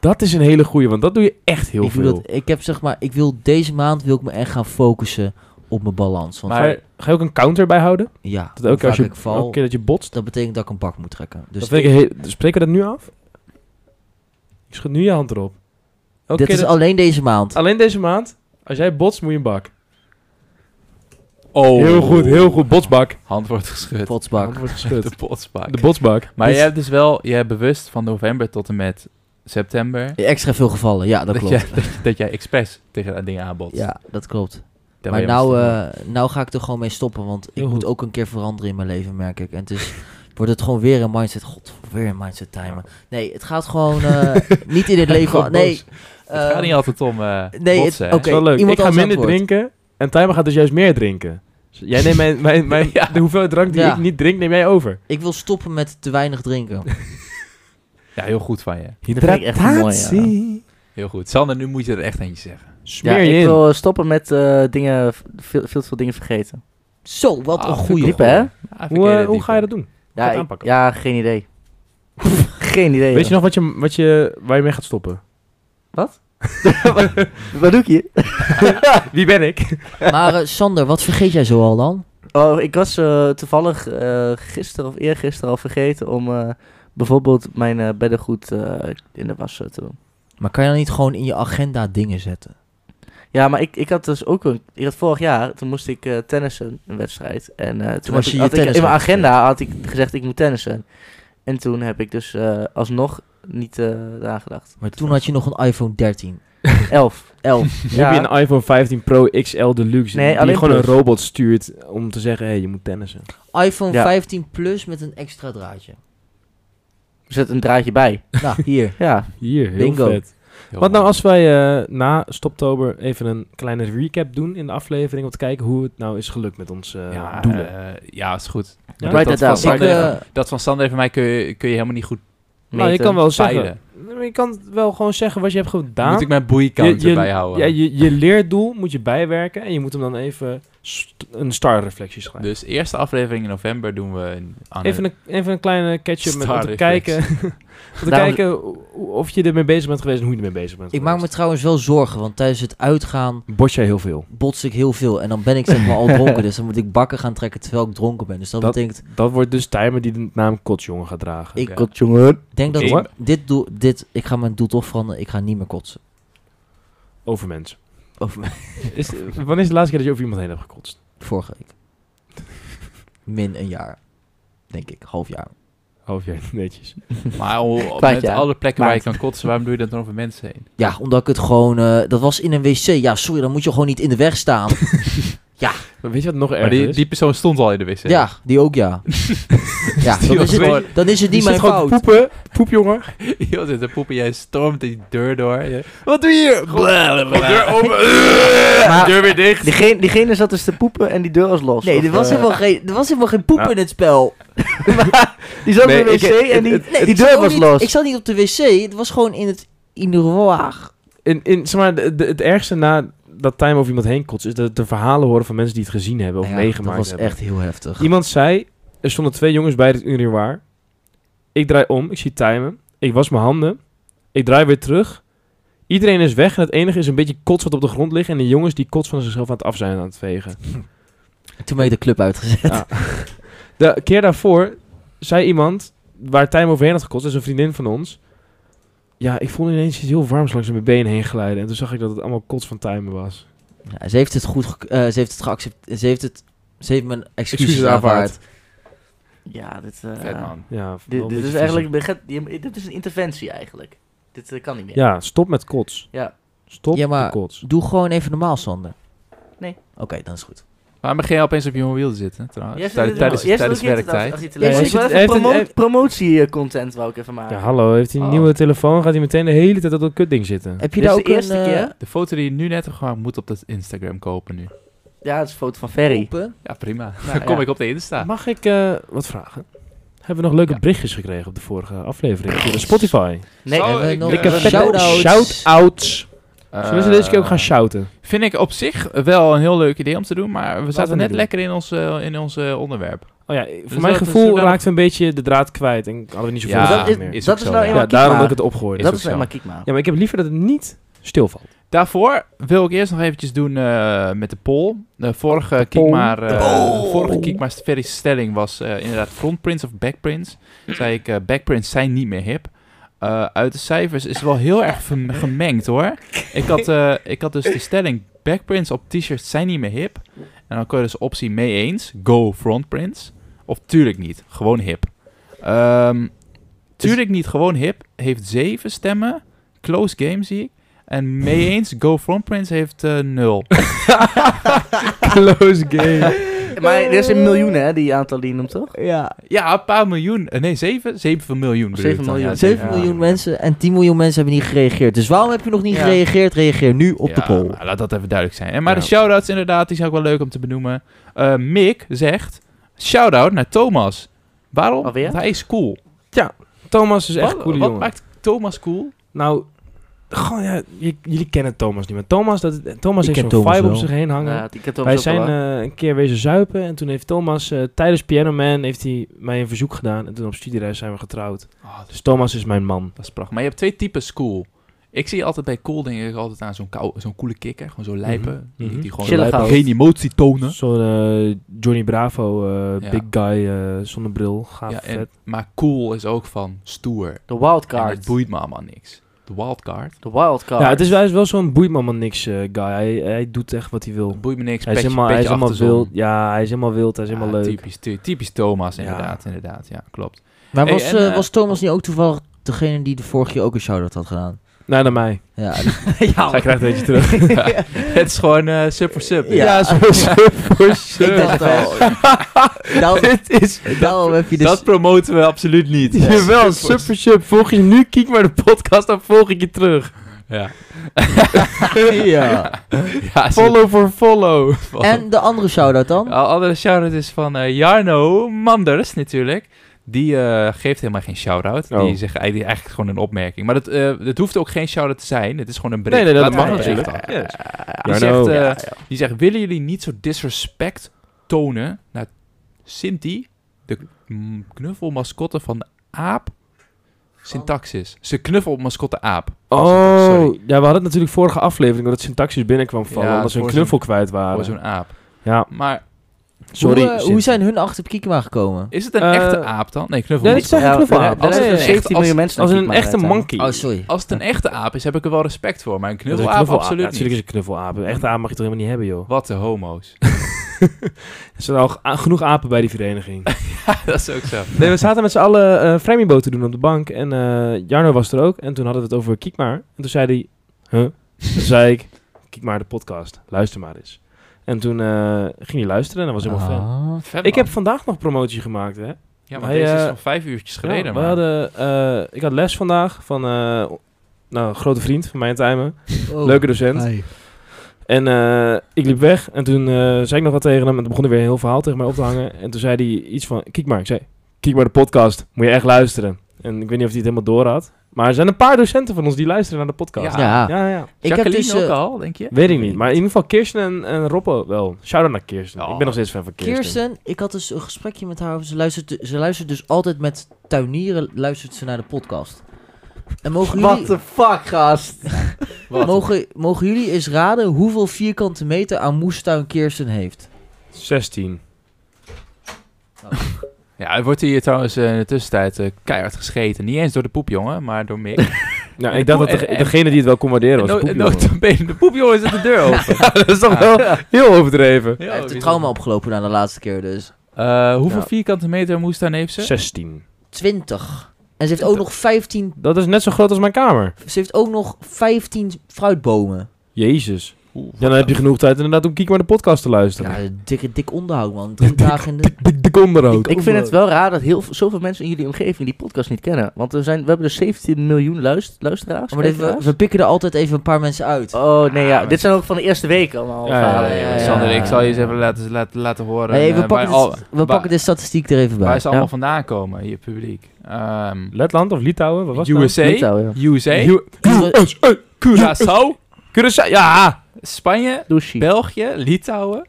Dat is een hele goeie, want dat doe je echt heel
ik,
veel.
wil dat, ik heb zeg maar, ik wil deze maand wil ik me echt gaan focussen op mijn balans. Want
Ga, je, ga je ook een counter bijhouden?
ja,
Dat ook
hoe
als
vaak
je
ik val,
elke keer dat je botst.
dat betekent dat ik een bak moet trekken. Dus
dat vind ik heel- Spreken we dat nu af? Ik schud nu je hand erop. Elke
dit
keer
is
dat- Ah,
alleen deze maand.
Alleen deze maand. Als jij botst, moet je een bak.
Oh.
Heel goed, heel goed. Botsbak.
Hand wordt geschud.
Hand
Potsbak.
wordt geschud.
De potsbak.
De botsbak.
maar
Dit-
jij hebt dus wel, jij hebt bewust van november tot en met september...
Extra veel gevallen. Ja, dat
dat,
klopt.
jij, dat, dat jij expres tegen dat ding aanbotst.
Ja, dat klopt.
Daar
maar
wil jij mee
nou,
stoppen.
eh, nou ga ik er gewoon mee stoppen, want ik
Heel
moet
goed.
ook een keer veranderen in mijn leven, merk ik. En het is wordt het gewoon weer een mindset. God, weer een mindset timer. Nee, het gaat gewoon eh, niet in het leven.
Gewoon
Nee,
het gaat
eh,
niet
Ehm,
altijd om eh
nee, het-
botsen, hè.
oké.
is wel leuk.
iemand
ik ga
anders
minder
antwoord.
drinken en Timer gaat dus juist meer drinken. Dus jij neemt mijn, mijn, mijn,
Ja.
de hoeveelheid drank die
Ja.
ik niet drink, neem jij over.
ik wil stoppen met te weinig drinken.
Ja, heel goed van je.
Dat vind ik echt mooi, ja.
Heel goed. Sander, nu moet je er echt eentje zeggen.
Smeer
ja,
je
ik
in.
wil stoppen met eh, dingen, veel, veel te veel dingen vergeten.
Zo, wat
Ah,
een
vind
goeie.
Diep, hè?
Ah, vind ik
Hoe, eh,
heel
hoe
diep,
ga je dat doen?
Ja, ik-
aanpakken.
ja geen idee. geen idee.
Weet je nog wat je, wat je, waar je mee gaat stoppen?
nog? Wat doe ik hier?
Wie ben ik?
Maar eh, Sander, wat vergeet jij zoal dan?
Oh, ik was eh, toevallig eh, gisteren of eergisteren al vergeten om eh, bijvoorbeeld mijn eh, beddengoed eh, in de was eh, te doen.
Maar kan je dan niet gewoon in je agenda dingen zetten?
Ja, maar ik, ik had dus ook een... Ik had vorig jaar, toen moest ik eh, tennissen, een wedstrijd. En eh, toen
was
had
je
ik,
je
had ik- in mijn
tenniswedstrijd.
agenda had ik gezegd, ik moet tennissen. En toen heb ik dus eh, alsnog niet eh eraan gedacht.
Maar toen had je nog een iPhone 13.
Elf.
11.
Nu heb je een iPhone 15 Pro XL Deluxe
Nee,
die
alleen
gewoon
Plus.
een robot stuurt om te zeggen, hé, hey, je moet tennissen.
iPhone
Ja.
15 Plus met een extra draadje.
Er zit een draadje bij.
Nou, hier.
Ja,
Hier, heel
Bingo.
vet.
Heel
Wat nou
mooi.
als wij eh, na Stoptober even een kleine recap doen in de aflevering om te kijken hoe het nou is gelukt met ons eh,
Ja,
doelen.
eh, ja, is goed. Maar
Ja,
write that down,
van
Ik,
Sander,
eh,
dat van Sander en van mij kun je, kun je helemaal niet goed
nou, je
meten.
kan wel
peilen.
zeggen. Nee, maar Je kan wel gewoon zeggen wat je hebt gedaan.
Moet ik mijn boeikant
je, je,
erbij houden?
Ja, je, je leerdoel moet je bijwerken en je moet hem dan even st- een starreflectie schrijven.
Dus eerste aflevering in november doen we een aan
Even een, even een kleine catch-up met om te
Starreflectie.
kijken, om te
Daarom-
kijken hoe- of je ermee bezig bent geweest en hoe je ermee bezig bent
ik maak me
geweest.
trouwens wel zorgen, want tijdens het uitgaan
Bos jij heel veel.
bots ik heel veel. En dan ben ik zeg maar al dronken, dus dan moet ik bakken gaan trekken terwijl ik dronken ben. Dus dat,
Dat-
betekent,
Dat wordt dus timer die de naam Kotsjongen gaat dragen.
ik
Oké.
Kot, jongen.
denk dat
Oké.
dit, doel, dit, ik ga mijn doel toch veranderen, ik ga niet meer kotsen.
Over mensen.
Over mij.
Is, wanneer is de laatste keer dat je over iemand heen hebt gekotst?
Vorige week. Min een jaar. Denk ik, half jaar.
Half jaar netjes.
Maar al-
Kwaad,
met
ja.
alle plekken waar je
Maakt.
kan kotsen, waarom doe je dat dan over mensen heen?
Ja, omdat ik het gewoon... eh, dat was in een wc. Ja, sorry, dan moet je gewoon niet in de weg staan.
Maar weet je wat nog erger
Maar die,
is?
die persoon stond al in de wc.
ja, die ook ja. ja, dan
was
is,
gewoon-
het, dan is het niet
Die
mijn
zit gewoon
fout.
te poepen. Poep, jongen.
Joh, zit te poepen, jij stormt die deur door. Je- Wat doe je hier? Deur open.
Maar-
deur weer dicht.
Diegene, diegene zat dus te poepen en die deur was los.
Nee,
Of,
er was,
eh,
helemaal geen, er was helemaal geen poep
Nou.
in het spel.
Die zat
Nee,
in de wc
ik- het-
en die,
het-
Nee,
die
ik zat
deur
ook
was
niet-
los.
Ik zat niet op de wc, het was gewoon in het... In de waag.
In, in, zeg maar, de- de- het ergste na dat time over iemand heen kotst... is dat de verhalen horen van mensen die het gezien hebben of
Nou ja,
meegemaakt
Dat was
hebben.
echt heel heftig.
Iemand zei... Er stonden twee jongens bij het urinoir. Ik draai om. Ik zie timen. Ik was mijn handen. Ik draai weer terug. Iedereen is weg en het enige is een beetje kots wat op de grond ligt... en de jongens die kots van zichzelf aan het af zijn aan het vegen.
Toen ben ik de club uitgezet.
De keer daarvoor zei iemand waar Tijm overheen had gekost, dat is een vriendin van ons. Ja, ik voelde ineens iets heel warms langs mijn benen heen glijden. En toen zag ik dat het allemaal kots van Tijmen was.
Ja, ze heeft het goed... ge- eh, ze heeft het geaccepteerd. Ze heeft het... Ze heeft mijn excuses,
Excuses aanvaard.
aanvaard.
Ja, dit, eh,
Vet man.
Ja, wel
dit,
een
dit
beetje
is eigenlijk... begint- je- Dit is een interventie eigenlijk. Dit eh, kan niet meer.
vies. Ja, stop met kots.
Ja.
Stop
Ja, maar-
met kots.
Doe gewoon even normaal, Sander.
Nee.
Oké, dan is goed.
Waarom begin je opeens op je mobiel te zitten, trouwens?
Jij zit
Ah, Tijdens-
er-
tijdens
jij zit
tijdens
ook hier te-
werktijd.
achter je te
Ja,
lezen.
hij
Ik wil
zit-
even
hij heeft een-
promo- promotiecontent wou ik even maken.
Ja, hallo, heeft hij een
Oh.
nieuwe telefoon? Gaat hij meteen de hele tijd op dat kutding zitten?
Heb je
Dit
daar
is
ook
de eerste
een, eh,
keer.
De foto die je nu net hebt gemaakt, moet op dat Instagram kopen nu.
Ja, dat is een foto van Ferry.
open?
Ja, prima.
Nou,
Dan kom
ja.
ik op de Insta.
Mag ik eh, wat vragen? Hebben we nog leuke
Ja.
berichtjes gekregen op de vorige aflevering? Via de Spotify.
Nee,
Zo,
Hebben we
ik,
nog
eh,
Ik heb
een
vette
shout-out.
shout-outs. Zullen ze deze keer ook gaan
Eh,
shouten?
Vind ik op zich wel een heel leuk idee om te doen, maar we zaten
we
net
doen.
lekker in ons, eh, in ons eh, onderwerp.
Oh ja, voor
dat-
mijn
dat is wel
gevoel
dan-
raakten we een beetje de draad kwijt. En hadden we niet zoveel
Ja,
vragen
dat is,
meer.
is
dat
ook
is
zo,
nou
ja.
eenmaal
Ja, daarom dat ik
Kiekma.
het opgooide.
Dat
ook
is nou
zo.
eenmaal Kiekma.
Ja, maar ik heb liever dat het niet stilvalt.
Daarvoor wil ik eerst nog eventjes doen eh, met de poll. De vorige
poll.
Kiekmaar, eh,
De poll.
vorige Kiekmaar Ferry's stelling was eh, inderdaad frontprints of backprints. Zei ik, eh, backprints zijn niet meer hip. Eh, uit de cijfers is wel heel erg verm- gemengd hoor. Ik had, eh, ik had dus de stelling, backprints op t-shirts zijn niet meer hip. En dan kon je dus optie mee eens, go frontprints. Of tuurlijk niet, gewoon hip. Ehm, tuurlijk niet, gewoon hip heeft zeven stemmen. Close game zie ik. En mee eens, Go Front Prince heeft eh, nul.
Close game.
Maar er is een miljoen, hè, die aantal die je noemt, toch?
Ja,
Ja, een paar miljoen. eh, nee, zeven? Zeven miljoen. bedoel
Zeven
ik dan,
miljoen.
ja,
7
ja.
miljoen mensen en 10 miljoen mensen hebben niet gereageerd. Dus waarom heb je nog niet
Ja.
gereageerd? Reageer nu op de
Ja,
poll.
maar laat dat even duidelijk zijn. En maar
Ja.
de shout-outs inderdaad, die zijn ook wel leuk om te benoemen. Eh, Mick zegt, shout-out naar Thomas. Waarom?
Alweer?
Want hij is cool.
Thomas is echt een
wat
coole
wat
jongen.
maakt Thomas cool?
Nou, gewoon, ja, j- jullie kennen Thomas niet meer. Thomas, dat, Thomas
Ik
heeft
ken
zo'n
Thomas
vibe op
wel.
zich heen hangen.
Ja, die kent ook
Wij
zo
zijn
wel.
eh, een keer wezen zuipen en toen heeft Thomas eh, tijdens Piano Man heeft hij mij een verzoek gedaan. En toen op studiereis zijn we getrouwd. Dus Thomas is mijn man.
Dat is prachtig. Oh, Maar je hebt twee types cool. Ik zie altijd bij cool denk ik altijd aan zo'n kou- zo'n coole kikker. Gewoon zo'n lijpen. Die,
mhm.
die gewoon
Chillig
lijpen,
houden.
geen emotie tonen.
Zo'n eh, Johnny Bravo, eh,
Ja.
big guy, eh zonder bril, gaaf
Ja, en,
vet.
maar cool is ook van stoer.
eh,
De
En het
wildcard.
boeit me allemaal niks. De wildcard.
De wildcard.
Ja, het is, hij is wel zo'n boeiman maar niks eh, guy. Hij, hij doet echt wat hij wil.
Het boeit me niks.
Hij is
petje-
helemaal, hij is
petje
helemaal
achter de zon.
wild. Ja, hij is helemaal wild, hij is helemaal
Ja,
leuk.
Typisch, ty- typisch Thomas,
Ja.
inderdaad. Inderdaad, ja, klopt.
Maar
Hey,
was,
en,
eh,
eh,
was Thomas niet ook toevallig degene die de vorige keer ook een shout-out had gedaan?
Nee, naar mij.
Ja,
Oh.
Hij krijgt een beetje terug.
het is gewoon eh, sub voor sub.
Ja. Ja,
sub voor
ik dacht al.
Nou,
daarom,
is,
daarom heb je dus...
dat promoten we absoluut niet.
Jawel, super sub. Volg je nu, kijk maar de podcast, dan volg ik je terug.
Ja.
ja.
Ja, is-
Follow for follow.
En de andere shout-out dan?
Een andere shout-out is van eh, Jarno Manders natuurlijk. Die eh, geeft helemaal geen shout-out.
Oh.
Die zegt eigenlijk, eigenlijk gewoon een opmerking. Maar dat, eh, dat hoeft ook geen shout-out te zijn. Het is gewoon een bericht.
Nee, nee, dat
Laten we
mag
een bericht
natuurlijk.
achter.
Yes.
Die,
Jarno.
zegt, eh,
Ja,
die zegt, willen jullie niet zo disrespect tonen naar Sinti, de mm, knuffelmascotte van aap Syntaxis? Ze knuffelmascotte aap.
Oh,
Sorry.
ja, we hadden het natuurlijk vorige aflevering dat syntaxis binnenkwam vallen,
Ja,
omdat ze een
voor
knuffel kwijt
Voor
waren.
Oh, zo'n aap.
ja,
Maar
sorry.
Hoe, eh, hoe
Sint.
zijn hun achter op Kiekema gekomen?
is het een
Eh,
echte aap dan? Nee, knuffel.
Nee, dit zijn geen
Ja,
knuffel.
daar-
apen.
daar
dus
Nee,
zijn
nee,
echt
17 miljoen
als-
mensen
Als
naar
een
Kiekmaker
echte
zijn.
monkey.
Oh, sorry.
Als het een echte aap is, heb ik er wel respect voor. Maar een
Dat is een
knuffelaap
knuffelaap. Ja,
absoluut
natuurlijk is
niet.
een knuffelaap. Een echte aap mag je toch helemaal niet hebben, joh.
Wat de homo's.
Er zijn al a- genoeg apen bij die vereniging.
dat is ook zo.
nee, we zaten met z'n allen eh Framingbo te doen op de bank. En eh, Jarno was er ook. En toen hadden we het over Kiek maar. En toen zei hij... Huh? Toen zei ik... Kiek maar de podcast. Luister maar eens. En toen eh, ging hij luisteren en dat was helemaal fan.
Ah.
Vet,
Ik
man.
heb vandaag nog promotie gemaakt, hè.
ja, maar
wij,
deze is
eh,
nog vijf uurtjes
Ja,
geleden.
we
maar.
hadden, eh, ik had les vandaag van eh, nou, een grote vriend van mij in Tijmen.
Oh.
Leuke docent.
Hi.
En eh, ik liep weg en toen eh, zei ik nog wat tegen hem. En toen begon hij weer een heel verhaal tegen mij op te hangen. En toen zei hij iets van, kijk maar. Ik zei, kijk maar de podcast. Moet je echt luisteren. En ik weet niet of hij het helemaal door had. Maar er zijn een paar docenten van ons die luisteren naar de podcast.
Ja.
Ja.
ja. ja.
Ik heb
Jacqueline
dus... eh,
ook al, denk je?
Weet ik niet. Maar in ieder geval Kirsten en, en Robbo wel. Shout-out naar Kirsten.
Oh.
Ik ben nog steeds fan van Kirsten.
Kirsten, ik had dus een gesprekje met haar over. Ze luistert, ze luistert dus altijd met tuinieren luistert ze naar de podcast. En mogen jullie,
What the fuck, gast?
mogen, mogen jullie eens raden hoeveel vierkante meter aan moestuin Kirsten heeft?
16.
Ja, er wordt hier trouwens eh, in de tussentijd eh, keihard gescheten. Niet eens door de poepjongen, maar door Mick.
Ja, Nou, ik dacht dat
en-
de-
en-
degene die het wel kon waarderen was de
En
poepjongen.
notabene, de poepjongen zet de deur open.
Dat is toch wel heel overdreven.
Hij heeft een trauma opgelopen na de laatste keer dus.
Eh, hoeveel
Ja.
vierkante meter moest daar heeft ze?
16.
20. En ze heeft ook nog 15,
Dat is net zo groot als mijn kamer.
ze heeft ook nog 15 fruitbomen.
Jezus.
Oeh,
Ja, dan heb je genoeg tijd inderdaad om Kiek maar de podcast te luisteren.
Ja, dikke, dik onderhoud man. Drie dagen in de...
Dik de onderhoud.
Ik vind het wel raar dat heel, zoveel mensen in jullie omgeving die podcast niet kennen. Want we, zijn, we hebben dus 17 miljoen luist- luisteraars.
Oh, Maar dit- we,
kijkeraars.
we pikken er altijd even een paar mensen uit.
Oh nee, ja.
maar-
Dit zijn ook van de eerste week allemaal.
Ah,
Ja,
verhalen,
ja, ja, ja.
Sander, ik zal je eens even laten, laten, laten horen
Hey,
eh,
we
waar,
pakken,
al-
de, st- we
waar-
pakken de statistiek er even bij.
waar ze allemaal vandaan komen, je publiek. Ehm,
Letland of Litouwen? Wat was het
USA,
Litouwen, ja.
USA,
U-
USA, Curaçao,
Curaçao. Ja!
Spanje,
Douchey.
België, Litouwen,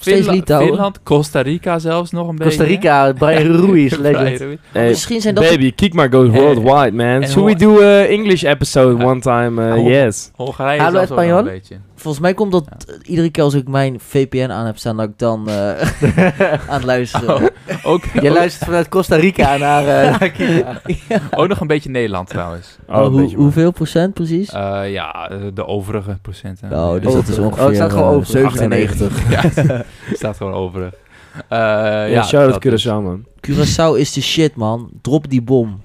steeds
Finla-
Litouwen.
Finland, Costa Rica zelfs nog een
Costa
beetje.
Rica, Brian Ruiz,
Brian
legend.
Ruiz.
Misschien zijn dat de-
Baby, Kiek maar goes
Eh,
worldwide, man.
en
Should we
hoe-
do an English episode
Ah.
one time? eh,
Ah,
yes.
Hongarije
Hallo,
zelfs ook nog
Espanol.
een beetje.
Volgens mij komt dat eh, iedere keer als ik mijn VPN aan heb staan, dat ik dan eh, aan het luisteren. ben.
Ook,
Je luistert vanuit Costa Rica naar, eh naar Cuba.
ook nog een beetje Nederland trouwens.
Oh, een
Hoe-
beetje, man.
hoeveel procent precies?
Eh, ja, eh, de overige procenten.
Nou, dus
Ja.
dat is
Oh,
ongeveer
het staat gewoon
eh,
over.
97.
Ja, staat gewoon overig. Eh,
Ja,
ja,
shout-out
dat dus. is-
Curaçao, man.
Curaçao is de shit, man. Drop die bom.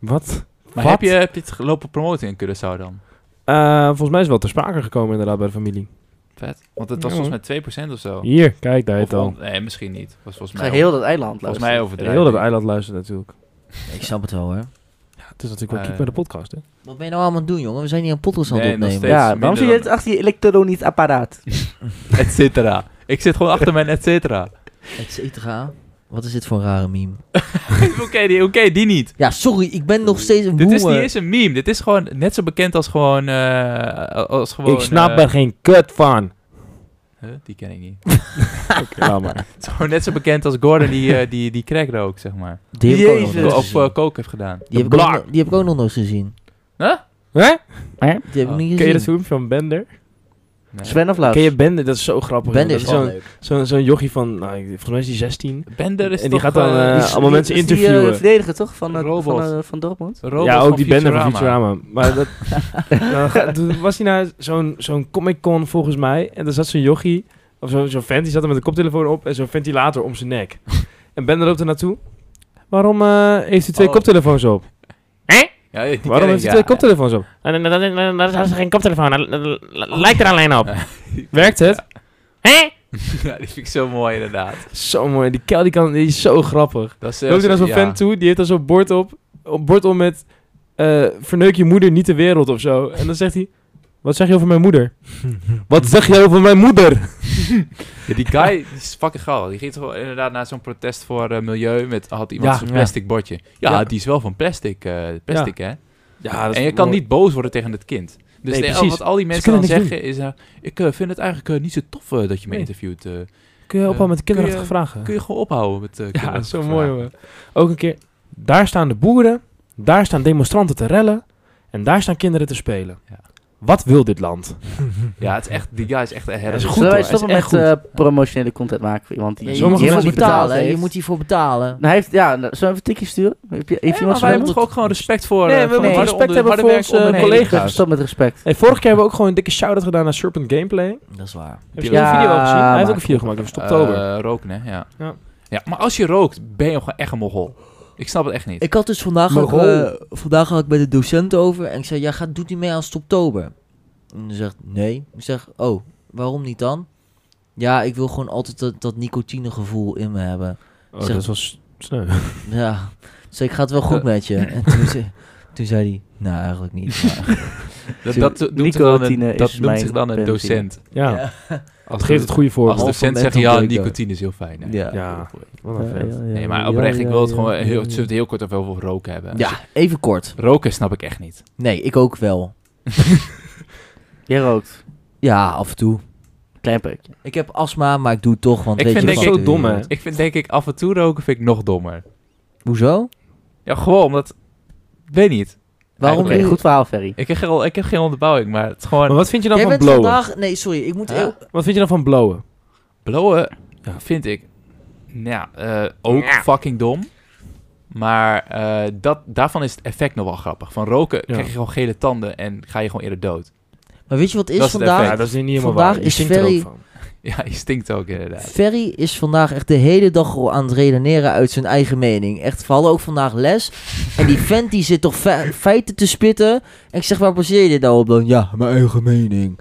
Wat?
Maar
Wat?
heb je, heb je het gelopen promoten in Curaçao dan?
Eh, volgens mij is het wel ter sprake gekomen inderdaad bij de familie.
Vet. Want het was
Ja,
volgens mij 2% of zo.
Hier, kijk, daar
Of
het al.
on- Nee, misschien niet. Was volgens
Ga
mij,
heel dat eiland
volgens
luisteren.
mij
Heel dat
overdreven.
eiland luistert natuurlijk.
Ik snap het wel hoor.
Ja, het is natuurlijk wel
Eh.
kiek bij de podcast, hè?
Wat ben je nou allemaal aan het doen, jongen? We zijn hier een podcast aan het
Nee, nog
opnemen.
steeds.
ja,
minder
waarom zit je
dan-
het achter je elektronisch apparaat?
Et cetera. Ik zit gewoon achter mijn et cetera.
Et cetera. Wat is dit voor een rare meme?
Oké, die, oké, die niet.
Ja, sorry, ik ben nog steeds een
Dit is niet
boomer.
eens een meme. Dit is gewoon net zo bekend als gewoon... eh, als gewoon
ik snap
eh,
er geen kut van.
huh, die ken ik niet.
Ja, maar.
Het is gewoon net zo bekend als Gordon die, eh, die, die crack rookt, zeg maar.
Die heb ik ook nog
Jezus.
nooit
Of
gezien.
eh coke heeft gedaan.
die, heb ik ook, nog- die heb ik ook nog nooit gezien.
Hè?
Die heb
Oh.
ik niet
Ken je dat
gezien.
filmpje van Bender?
Nee.
Sven of Laus?
Ken je eh, Bender? Dat is zo grappig.
Bender
jongen.
is wel
Dat is
leuk.
Zo'n zo'n- zo'n jochie van, nou, ik- volgens mij is die 16.
Bender is
En die
toch,
gaat dan,
eh,
eh,
die-
allemaal mensen
is die, eh,
interviewen.
verdediger toch? Van, eh,
Robot.
van, eh, van Dortmund?
Robot
ja, ook
van
die Bender van Futurama. Maar dat, Nou, ga- toen was hij naar zo'n zo'n Comic Con volgens mij. En daar zat zo'n jochie, of zo- zo'n vent, die zat er met een koptelefoon op en zo'n ventilator om zijn nek. En Bender loopt er naartoe. Waarom eh, heeft hij twee
Oh.
koptelefoons op?
Ja, die ken
Waarom
ik,
heeft hij
ja.
twee koptelefoons op? Dat is geen koptelefoon, lijkt er alleen op. Werkt het? Hé?
Ja, die vind ik zo mooi inderdaad.
Zo mooi, die kel die, kan, die is zo grappig.
Dat is, eh,
Loopt hij naar zo'n
ja.
vent toe, die heeft dan zo'n bord op, op bord om met eh, verneuk je moeder, niet de wereld of zo. En dan zegt hij, wat zeg je over mijn moeder? wat zeg je over mijn moeder?
Ja, die guy die is fucking gaal. Die ging toch wel inderdaad naar zo'n protest voor eh, milieu met had iemand
Ja,
zo'n
ja.
plastic bordje. Ja,
Ja.
die is wel van plastic. eh, plastic hè?
Ja, dat
en je kan niet boos worden tegen het kind. Dus
Nee,
de-
precies.
wat al die mensen
kunnen
dan
niks
zeggen is, eh, ik eh, vind het eigenlijk eh, niet zo tof eh, dat je me
Nee.
interviewt. eh.
Kun je ophouden met
kun je-
kinderachtige vragen?
kun je gewoon ophouden met eh,
ja, dat is
kinderachtige
zo mooi
vragen?
hoor. Ook een keer, daar staan de boeren, daar staan demonstranten te rellen en daar staan kinderen te spelen.
Ja.
Wat wil dit land?
Ja, het is echt, die guy is echt een
dat is
herder.
goed,
Zullen wij
hoor. Hij is
stoppen
echt
met
goed.
eh, promotionele content maken voor iemand die
Ja, je moet
Sommige
hiervoor
iemand
mensen
die
betalen. hè. Je
heeft?
moet hiervoor betalen.
Nou, hij heeft, ja, nou, zullen we even een tikje sturen? Heb je, heeft
Ja,
iemand
maar wij moeten toch ook gewoon respect voor eh,
Nee, we
van de
moeten
harde
respect
onder-
hebben
harde
voor
werk
onze
onder-
collega's.
Stop met respect.
Hey, vorig keer hebben we ook gewoon een dikke shout-out gedaan naar Serpent Gameplay.
Dat is waar.
Heb je
Ja,
die video al gezien? Hij heeft ook
maar-
een video gemaakt, dat was oktober.
Eh, roken, hè? Ja.
Ja.
ja. maar als je rookt, ben je gewoon echt een mogol. Ik snap het echt niet.
Ik had dus vandaag, ook,
Mogol.
eh, vandaag had ik bij de docent over en ik zei, ja, gaat, doet u mee aan Stoptober? En hij zegt, nee. Ik zeg, oh, waarom niet dan? Ja, ik wil gewoon altijd dat, dat nicotinegevoel in me hebben.
oh,
eh,
zeg-
dat was sneu.
Ja, dus ik ga het wel goed
Eh.
met je. En toen, ze- toen zei hij, nou, eigenlijk niet. maar-
Dat,
Tuur-
dat noemt, zich dan
nicotine
een, dat
is
noemt
mijn
zich dan een
benzine.
docent.
Ja,
Ja.
Als
het geeft het goede
Als de
voorbeeld.
Half
docent
van
zegt,
net
ja,
ontbreken.
nicotine is heel fijn. hè.
ja.
Ja, wat een vet.
Nee, maar oprecht, ik wil het gewoon heel, zullen we het heel kort even over roken hebben.
ja, even kort.
Roken snap ik echt niet.
Nee, ik ook wel.
Je rookt.
Ja, af en toe.
Klein peukje.
Ik heb astma, maar ik doe het toch, want
Ik
weet
vind
je
denk
wat
ik- zo dom, hè?
wereld-
Ik vind denk ik, af en toe roken vind ik nog dommer.
Hoezo?
Ja, gewoon omdat, weet niet.
Waarom
Oké,
Oké,
niet?
goed verhaal, Ferry.
Ik heb, geen, ik heb geen onderbouwing, maar het is gewoon...
Maar wat vind je dan
Jij
van
bent
blowen?
vandaag... Nee, sorry, ik moet...
Ja.
eeuw-
Wat vind je dan van blowen?
Blowen
Ja.
vind ik nou ja, eh, ook fucking dom. Maar eh, dat, daarvan is het effect nog wel grappig. Van roken krijg je gewoon gele tanden en ga je gewoon eerder dood.
Maar weet je wat
Dat
is
is het
vandaag?
Ja, dat is niet helemaal
Vandaag
waar. Je
is
stinkt er ook
Ferry-
van.
Ja, je stinkt ook inderdaad.
Ferry is vandaag echt de hele dag al aan het redeneren uit zijn eigen mening. Echt, we hadden ook vandaag les. En die vent die zit toch fe- feiten te spitten. En ik zeg, waar baseer je dit nou op dan? Ja, mijn eigen mening.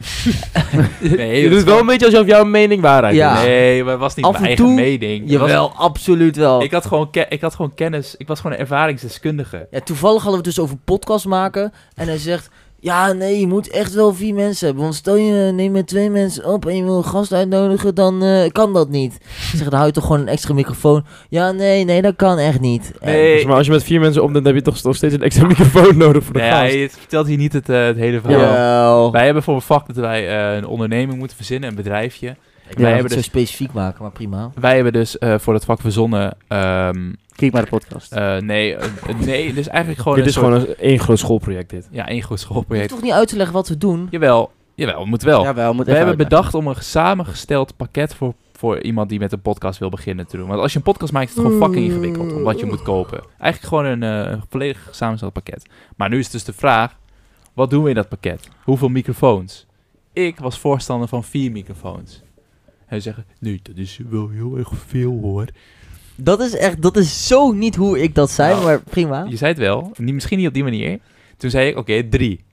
Nee,
Je doet
dat is
het wel een beetje alsof jouw mening waarheid
Ja.
is.
Nee, maar het was niet
Af
mijn
en
eigen
toe-
mening. Het was-
Jawel, Oh. absoluut wel.
ik, had gewoon ke- ik had gewoon kennis. Ik was gewoon een ervaringsdeskundige.
Ja, toevallig hadden we het dus over podcast maken. En hij zegt, ja nee, je moet echt wel vier mensen hebben. Want stel je eh, neemt met twee mensen op en je wil een gast uitnodigen, dan eh, kan dat niet. Ik zeg, dan hou je toch gewoon een extra microfoon. Ja nee, nee, dat kan echt niet. En-
Nee.
Dus maar als je met vier mensen opneemt, dan heb je toch nog steeds een extra microfoon nodig voor de
Nee,
gast.
hij het vertelt hier niet het, eh, het hele verhaal.
Jawel.
Wij hebben voor een vak dat wij eh, een onderneming moeten verzinnen, een bedrijfje.
Ja,
wij,
wij
hebben
het
dus,
zo specifiek maken, maar prima.
wij hebben dus eh, voor dat vak verzonnen... ehm,
Kijk maar de podcast.
eh, nee, eh, nee, dus eigenlijk gewoon
dit
een
is
soort-
gewoon een, één groot schoolproject dit.
Ja, één goed
Je hoeft
schoolproject.
toch niet uit te leggen wat we doen?
Jawel, jawel, moet wel.
Jawel, moet
we hebben bedacht om een samengesteld pakket voor, voor iemand die met een podcast wil beginnen te doen. Want als je een podcast maakt, is het gewoon fucking ingewikkeld om wat je moet kopen. Eigenlijk gewoon een eh, volledig samengesteld pakket. Maar nu is dus de vraag, wat doen we in dat pakket? Hoeveel microfoons? Ik was voorstander van vier microfoons. En zeggen, nee, dat is wel heel erg veel hoor.
Dat is echt, dat is zo niet hoe ik dat zei,
Nou,
maar prima.
Je zei het wel, niet, misschien niet op die manier. Toen zei ik, oké, drie.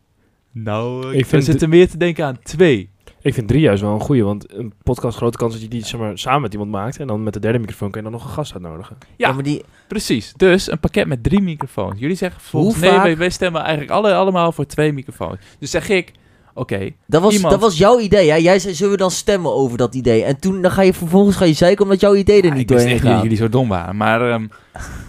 Nou, eh,
Ik
ik
vind
zit er meer te denken aan twee.
Ik Ik vind drie juist wel een goeie, want een podcast grote kans dat je die zeg maar, samen met iemand maakt. En dan met de derde microfoon kun je dan nog een gast uitnodigen.
Ja.
maar die,
Precies. Dus een pakket met drie microfoons. Jullie zeggen volgens
Hoe
nee,
vaak-
wij, wij stemmen eigenlijk alle, allemaal voor twee microfoons. Dus zeg ik, oké,
dat, was,
Iemand.
dat was jouw idee, hè? Jij zei, zullen we dan stemmen over dat idee? En toen dan ga je vervolgens ga je zeiken omdat jouw idee er niet
Ja, Ah, ik wist
doorheen
echt niet dat
gaat.
jullie zo dom waren. Maar ehm,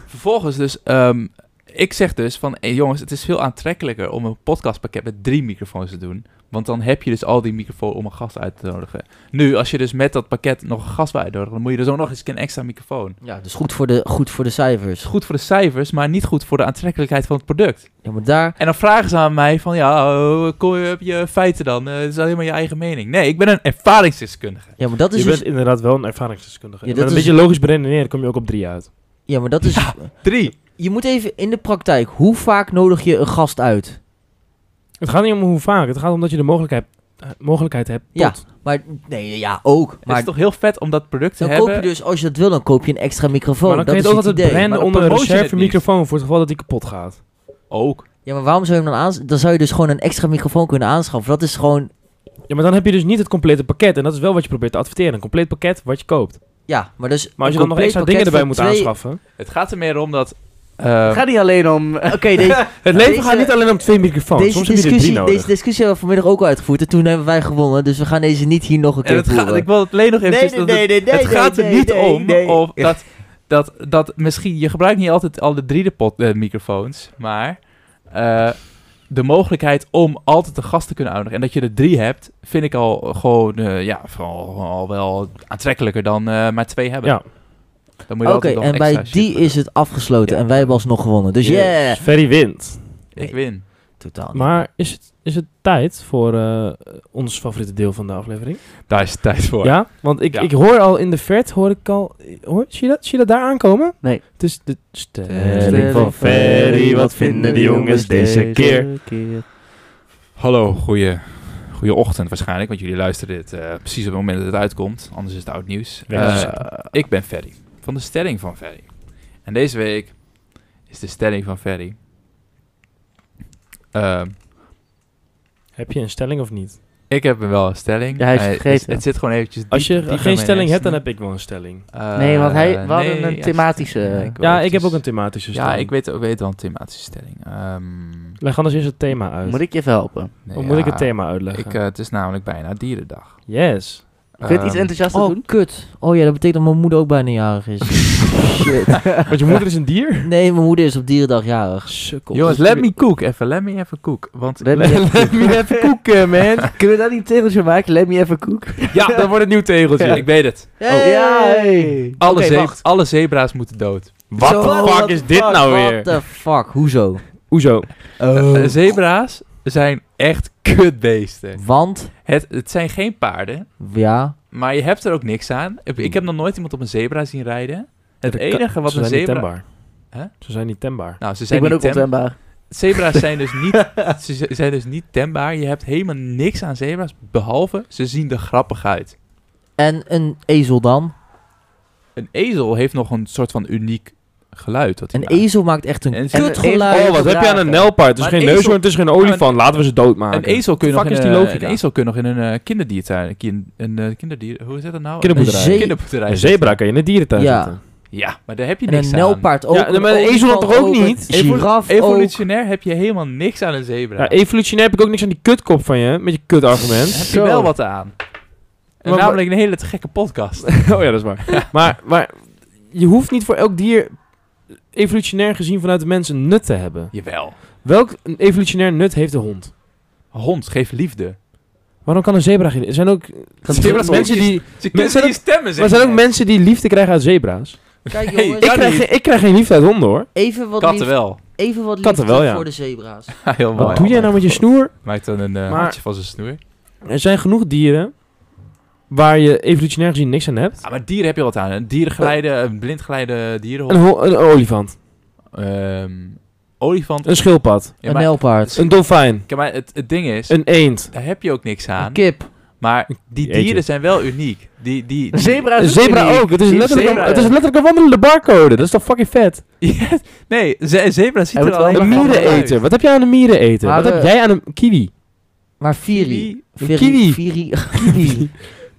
vervolgens dus... ehm, ik zeg dus van... Hey jongens, het is veel aantrekkelijker om een podcastpakket met drie microfoons te doen. Want dan heb je dus al die microfoons om een gast uit te nodigen. Nu, als je dus met dat pakket nog een gast wil uitnodigen... dan moet je dus ook nog eens een extra microfoon.
Ja, dus goed voor de, goed voor de cijfers.
Goed voor de cijfers, maar niet goed voor de aantrekkelijkheid van het product.
Ja, maar daar...
En dan vragen ze aan mij van... Ja, oh, kom, je- heb je feiten dan? Eh, Het is alleen maar je eigen mening. Nee, ik ben een ervaringsdeskundige.
Ja, maar dat is
je
dus...
bent inderdaad wel een ervaringsdeskundige.
Ja,
Met
dat
een
is-
beetje logisch beredeneren kom je ook op drie uit.
Ja, maar dat is...
Drie.
Je moet even in de praktijk. Hoe vaak nodig je een gast uit?
Het gaat niet om hoe vaak, het gaat om dat je de mogelijkheid, eh, mogelijkheid hebt tot.
Ja, Maar nee, ja, ook.
het is
Maar
toch heel vet om dat product te
dan
hebben...
koop je dus, als je dat wil, dan koop je een extra microfoon.
maar dan kun
dat
je
is
het ook altijd
idee.
branden
Maar dan
onder een
promote je het niet.
reservemicrofoon voor het geval dat die kapot gaat.
Ook.
Ja, maar waarom zou je hem dan aan? Dan zou je dus gewoon een extra microfoon kunnen aanschaffen. Dat is gewoon...
Ja, maar dan heb je dus niet het complete pakket. En dat is wel wat je probeert te adverteren. Een compleet pakket wat je koopt.
Ja, maar dus...
Maar als je
een
dan nog extra
compleet
dingen
pakket
erbij
voor
moet
twee-
aanschaffen.
Het gaat er meer om dat. eh,
Het gaat niet alleen om...
Oké, deze,
Het leven
Deze-
gaat niet alleen om twee microfoons.
deze,
Oh, Soms heb je er drie
discussie,
nodig.
deze discussie hebben we vanmiddag ook uitgevoerd. En toen hebben wij gewonnen. Dus we gaan deze niet hier nog een
en
keer
het gaat,
voeren.
ik wil het alleen nog even. zeggen dat het het gaat er niet om of dat, dat, dat misschien. Je gebruikt niet altijd al de drie de pot, eh, microfoons, maar eh, de mogelijkheid om altijd een gast te kunnen uitnodigen. En dat je er drie hebt, vind ik al gewoon eh, ja, vooral, al wel aantrekkelijker dan eh, maar twee hebben.
Ja.
Dan moet
Oké,
je altijd nog
en
extra
bij
shit
die
doen.
is het afgesloten.
Ja.
En wij hebben alsnog gewonnen. Dus yeah!
Dus Ferry wint.
Ik win.
Totaal. niet.
Maar is het, is het tijd voor eh, ons favoriete deel van de aflevering?
Daar is het tijd voor.
Ja, want ik,
Ja.
ik hoor al in de vert, hoor ik al... Hoor, zie, je dat, zie je dat daar aankomen?
Nee.
Het is de stelling van Ferry. Wat vinden de jongens deze keer?
Hallo, goeie, goeie ochtend waarschijnlijk, want jullie luisteren dit eh, precies op het moment dat het uitkomt. Anders is het oud nieuws.
Ja,
Eh,
dat
ik ben Ferry, van de stelling van Ferry. En deze week is de stelling van Ferry. Ehm,
Heb je een stelling of niet?
ik heb wel een stelling.
Ja, hij is
maar
vergeten.
Het, het zit gewoon eventjes diep,
Als je
diep in
geen
mijn
stelling hebt, dan heb
hersenen.
ik wel een stelling.
Eh,
Nee, want hij- we hadden een
ja,
thematische-
weet
Ja,
het,
ik heb
dus-
ook een thematische stelling.
Ja, ik weet, ik weet wel een thematische stelling. Ehm,
Leg anders eerst het thema uit.
Moet ik je even helpen?
nee,
Hoe moet ik
ja,
het thema uitleggen?
ik, eh, het is namelijk bijna dierendag.
yes.
Kun je het iets
Ehm,
enthousiaster
Oh,
doen?
kut. Oh ja, dat betekent dat mijn moeder ook bijna jarig is. Shit.
Want je moeder is een dier?
Nee, mijn moeder is op dierendag jarig.
Sukkel.
Jongens, let me cook even. Let me even cook. Want
Let me even
let me even cook, eh, man.
Kunnen we daar niet een tegeltje maken? Let me even koek.
ja, dat wordt een nieuw tegeltje. Ik weet het.
Hey!
Ja, hey.
Alle,
Oké,
ze-
wacht.
alle zebra's moeten dood.
What
Zo,
the
what
fuck is dit nou
What
weer?
the fuck? Hoezo?
Hoezo?
Oh.
Eh, zebra's zijn echt kutbeesten.
Want,
Het, het zijn geen paarden,
ja,
maar je hebt er ook niks aan. Ik- Ik heb nog nooit iemand op een zebra zien rijden. Het
Dat
enige
kan-
wat
ze
een
zijn niet
zebra...
tembaar.
Hè?
Ze zijn niet tembaar.
Nou, ze zijn
Ik ben
niet
ook
tem-
ontembaar.
Zebra's zijn dus, niet, ze z- zijn dus niet tembaar. Je hebt helemaal niks aan zebra's, behalve ze zien er grappig uit.
en een ezel dan?
Een ezel heeft nog een soort van uniek geluid. Wat hij
Een
maakt.
ezel maakt echt een
En-
kut
en-
geluid.
Oh, wat heb je aan een nelpaard? Het is
Maar een
geen
ezel-
neushoorn, het is geen olifant. Laten we ze doodmaken.
Een ezel kun je
Fuck
nog in
is
een,
die
een
logica?
ezel kun je nog in een eh, kinderdiertuin. Kin, een eh, kinderdier, hoe is dat nou?
Kinderboerderij.
Een
Een
kinderboerderij.
Een zebra kan je in een dierentuin
Ja.
zetten.
Ja, maar daar heb je
En
niks
een
aan.
nelpaard ook.
Ja, maar een ezel dan toch ook niet?
Een giraf ook.
Evolutionair heb je helemaal niks aan een zebra.
Ja, Nou, evolutionair heb ik ook niks aan die kutkop van je, met je kutargument.
heb je wel wat aan. En
Maar-
namelijk een hele te gekke podcast.
oh ja, dat is waar. maar, maar je hoeft niet voor elk dier, evolutionair gezien vanuit de mens, een nut te hebben.
Jawel.
Welk evolutionair nut heeft de hond?
Hond, geef liefde.
Waarom kan een zebra geen... Er zijn ook,
zebra's
mensen
hondjes?
die,
Ze kunnen
zijn
niet stemmen,
maar er zijn ook mensen die liefde krijgen uit zebra's.
Kijk
Hey,
Ik
jongens,
Kan
krijg,
niet.
geen- ik krijg geen liefde uit honden hoor.
even wat
Katten
liefde,
wel.
even wat
Katten
liefde
wel, ja.
voor de zebra's.
Heel
Oh,
mooi.
Wat doe jij nou met je snoer?
Maakt dan een eh
Maar-
handje van zijn snoer.
Er zijn genoeg dieren waar je evolutionair gezien niks aan hebt.
Ah, maar dieren heb je wat aan. Een dierengeleide, een blindgeleide
Een,
dierenhond.
ho- een olifant,
Ehm, olifant.
een schildpad,
Ja,
een
maar-
nelpaard.
een dolfijn,
Kijk, maar het, het ding is,
een eend,
daar heb je ook niks aan.
Een kip.
Maar die
Die eet
dieren
je.
zijn wel uniek. Die, die,
Een zebra is
een
ook
zebra
uniek.
ook. Het is,
Die
letterlijk
zebra-
een, het is letterlijk een wandelende barcode. Dat is toch fucking vet?
Yes. Nee, ze, een zebra ziet
Hij
er
wordt wel
alleen
een
Een
maar
mieren
grappig uit.
miereneter. Wat heb jij aan een miereneter?
Maar,
Wat heb
eh,
jij aan een kiwi?
Maar Viri. Viri.
Kiwi.
Viri. Kiwi.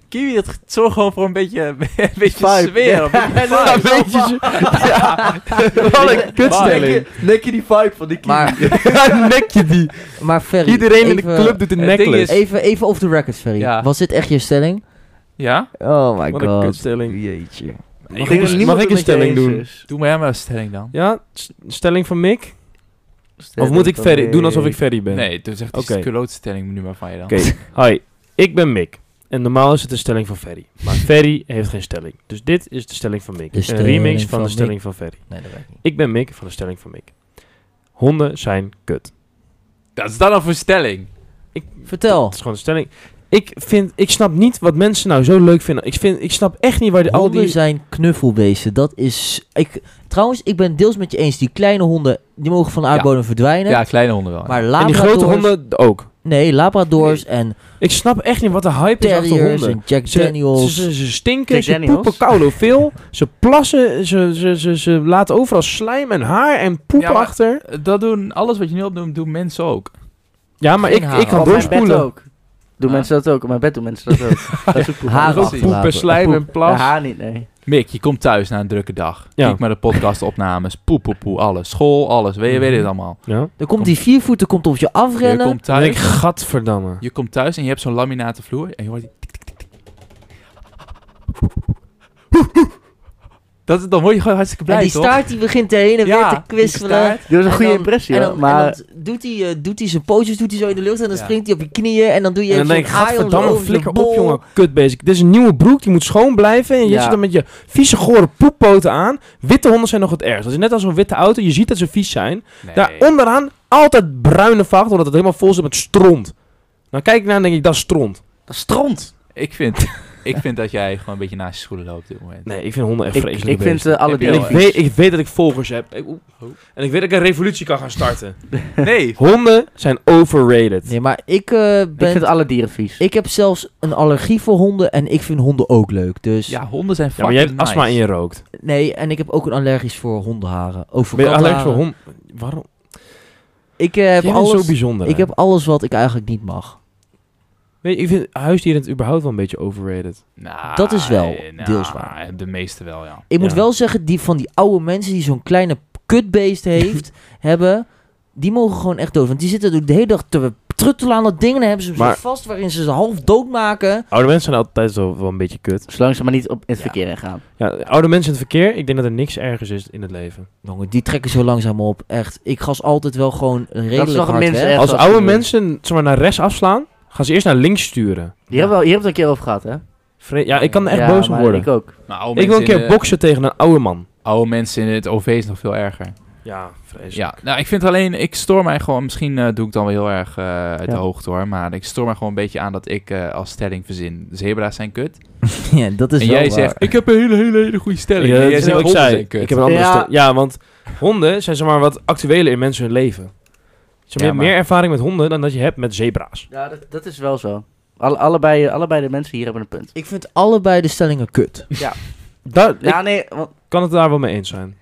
Kiwi, dat zorgt gewoon voor een beetje, een beetje
Vibe.
sfeer. Een beetje
Ja,
vibe.
weet je,
Wat
een kutstelling.
Nek je die vibe van die kiwi.
maar,
nek je die.
maar Ferry.
Iedereen in de
even-
club doet een
Het ding
necklace.
is-
Even, even off the record, Ferry.
Ja.
Was dit echt je stelling?
Ja?
Oh my
Wat een
god.
kutstelling.
Jeetje.
Mag ik, een- mag ik een stelling doen?
Doe maar maar een stelling dan.
Ja, s- stelling van Mick? Of moet ik Ferry doen alsof ik Ferry ben?
Nee, toen zegt
Oké.
die klootstelling nu maar van je dan.
Oké, hi. Ik ben Mick. En normaal is het een stelling van Ferry. Maar Ferry heeft geen stelling. Dus dit is de stelling van Mick.
De
Een
stelling
remix van,
van
de
Mick.
stelling van Ferry.
Nee, dat werkt niet.
Ik ben Mick van de stelling van Mick. Honden zijn kut.
Dat is dan al voor stelling.
Dat
Vertel.
is gewoon een stelling. Ik, vind, ik snap niet wat mensen nou zo leuk vinden. Ik, vind, ik snap echt niet waar die, al
Honden
die...
zijn knuffelbeesten. Dat is... Ik, trouwens, ik ben deels met je eens. Die kleine honden, die mogen van de aardbodem verdwijnen.
Ja, kleine honden wel.
Maar
En die
labradors...
grote honden ook.
Nee, labradors en
Ik snap echt niet wat de hype is achter
terriers
honden.
en Jack
Ze,
Daniels.
ze, ze- ze stinken,
Jack
ze
Daniels.
poepen koude veel, ze plassen, ze, ze, ze, ze laten overal slijm en haar en poep
Ja, maar-
achter.
Dat doen, alles wat je nu opnoemt, doen mensen ook.
Ja, maar
Geen
ik,
haar.
ik kan
Op
Op mijn bed
doorspoelen.
ook. Doen
Ah.
mensen dat ook? Op mijn bed doen mensen dat ook. dat is ook poep.
Haar
Dat is
ook.
ook
Poep.
Poepen,
Laten.
slijm
Poep.
en plas.
Haar niet, nee.
Mick, je komt thuis na een drukke dag.
Ja.
Kijk maar de podcastopnames. Poep, poep, poep, alles. School, alles. Weet je weet het allemaal.
Ja.
Er komt die viervoeter komt op je
Je
afrennen.
komt
Dan denk ik,
thuis.
gadverdamme.
Je komt thuis en je hebt zo'n laminaten vloer. En je hoort die... tik, tik, tik, tik. Dat, dan word je gewoon hartstikke blij,
en die
toch?
staart die begint heen en
Ja,
weer te
die
kwispelen.
staart.
Dat is een
En
goede
dan-
impressie,
en
hoor,
dan, en
maar...
dan doet hij, eh, doet hij zijn pootjes doet hij zo in de lucht en dan
Ja.
springt hij op je knieën en dan doe je
En dan
even
denk ik,
zo'n aai om zo
gadverdamme,
over zijn
flikker op,
bol.
jongen, kut bezig. Dit is een nieuwe broek, die moet schoon blijven. En je
Ja.
zit dan met je vieze, gore poeppoten aan. Witte honden zijn nog het ergst. Dat is net als een witte auto, je ziet dat ze vies zijn.
Nee.
Daar onderaan altijd bruine vacht, omdat het helemaal vol zit met stront. Dan kijk ik naar en denk ik, dat is stront.
Dat stront!
Ik vind, ik vind dat jij gewoon een beetje naast je schoenen loopt op dit moment.
Nee, ik vind honden echt
Ik,
vreselijk
ik vind
beesten.
ze alle
Heb je
En
drie
ik
wel,
vies.
weet, ik weet dat ik volgers heb. Ik- oeh.
Oh.
En ik weet dat ik een revolutie kan gaan starten.
Nee.
Honden zijn overrated.
Nee, maar ik, eh,
Ik
ben,
vind
ik,
alle dieren vies.
heb zelfs een allergie voor honden en ik vind honden ook leuk. Dus
Ja, honden zijn
Ja, maar
fucking
jij hebt astma
nice.
en je rookt.
nee, en ik heb ook een allergisch voor hondenharen. Ook voor
Ben je allergisch voor
katharen.
honden? Waarom?
Ik eh, heb
Jij bent zo
alles.
bijzonder.
Ik
hè?
heb alles wat ik eigenlijk niet mag.
Weet je, ik vind huisdieren het überhaupt wel een beetje overrated.
Nou,
Dat is wel
eh, nou,
deels waar.
De meeste wel, ja.
Ik moet
Ja.
wel zeggen, die van die oude mensen die zo'n kleine kutbeest heeft, hebben, die mogen gewoon echt dood. Want die zitten de hele dag te truttelen aan dat ding en dan hebben ze hem
Maar-
zo vast waarin ze ze half dood maken.
Oude mensen zijn altijd zo wel een beetje kut.
Zolang ze maar niet op in het verkeer gaan.
Ja, oude mensen in het verkeer, ik denk dat er niks ergers is in het leven.
Jongen, die trekken zo langzaam op. Echt, ik gas altijd wel gewoon redelijk
nog een
hard
mens,
weg.
hè?
Als
wat
oude
ze doen.
mensen zeg maar, naar rechts afslaan, gaan ze eerst naar links sturen.
Die hebben we al- hier hebben we het een keer over gehad, hè?
Vre- ja, ik kan er echt
Ja,
boos om
maar
worden.
Ik
Ik,
ook.
Maar oude
wil
mensen
een keer
in de-
boksen tegen een oude man.
Oude mensen in het OV is nog veel erger.
Ja, vreselijk.
Ja, nou ik vind alleen, ik stoor mij gewoon, misschien eh, doe ik dan wel heel erg eh, uit de
Ja.
hoogte hoor, maar ik stoor mij gewoon een beetje aan dat ik eh, als stelling verzin, zebra's zijn kut.
ja, dat is
en
wel
jij
waar.
zegt, ik heb een hele, hele, hele goede stelling.
Ja,
en
dat
jij
is
zegt,
wat ik
honden
zei.
zijn kut.
Ik heb een andere
Ja.
stem. Ja, want honden zijn zeg maar wat actueler in mensen hun leven. Zeg maar, je
Ja,
hebt
maar-
meer ervaring met honden dan dat je hebt met zebra's.
Ja, dat, dat is wel zo. Alle, allebei, allebei de mensen hier hebben een punt.
Ik vind allebei de stellingen kut.
Daar, ik
Ja, nee, want
kan het daar wel mee eens zijn.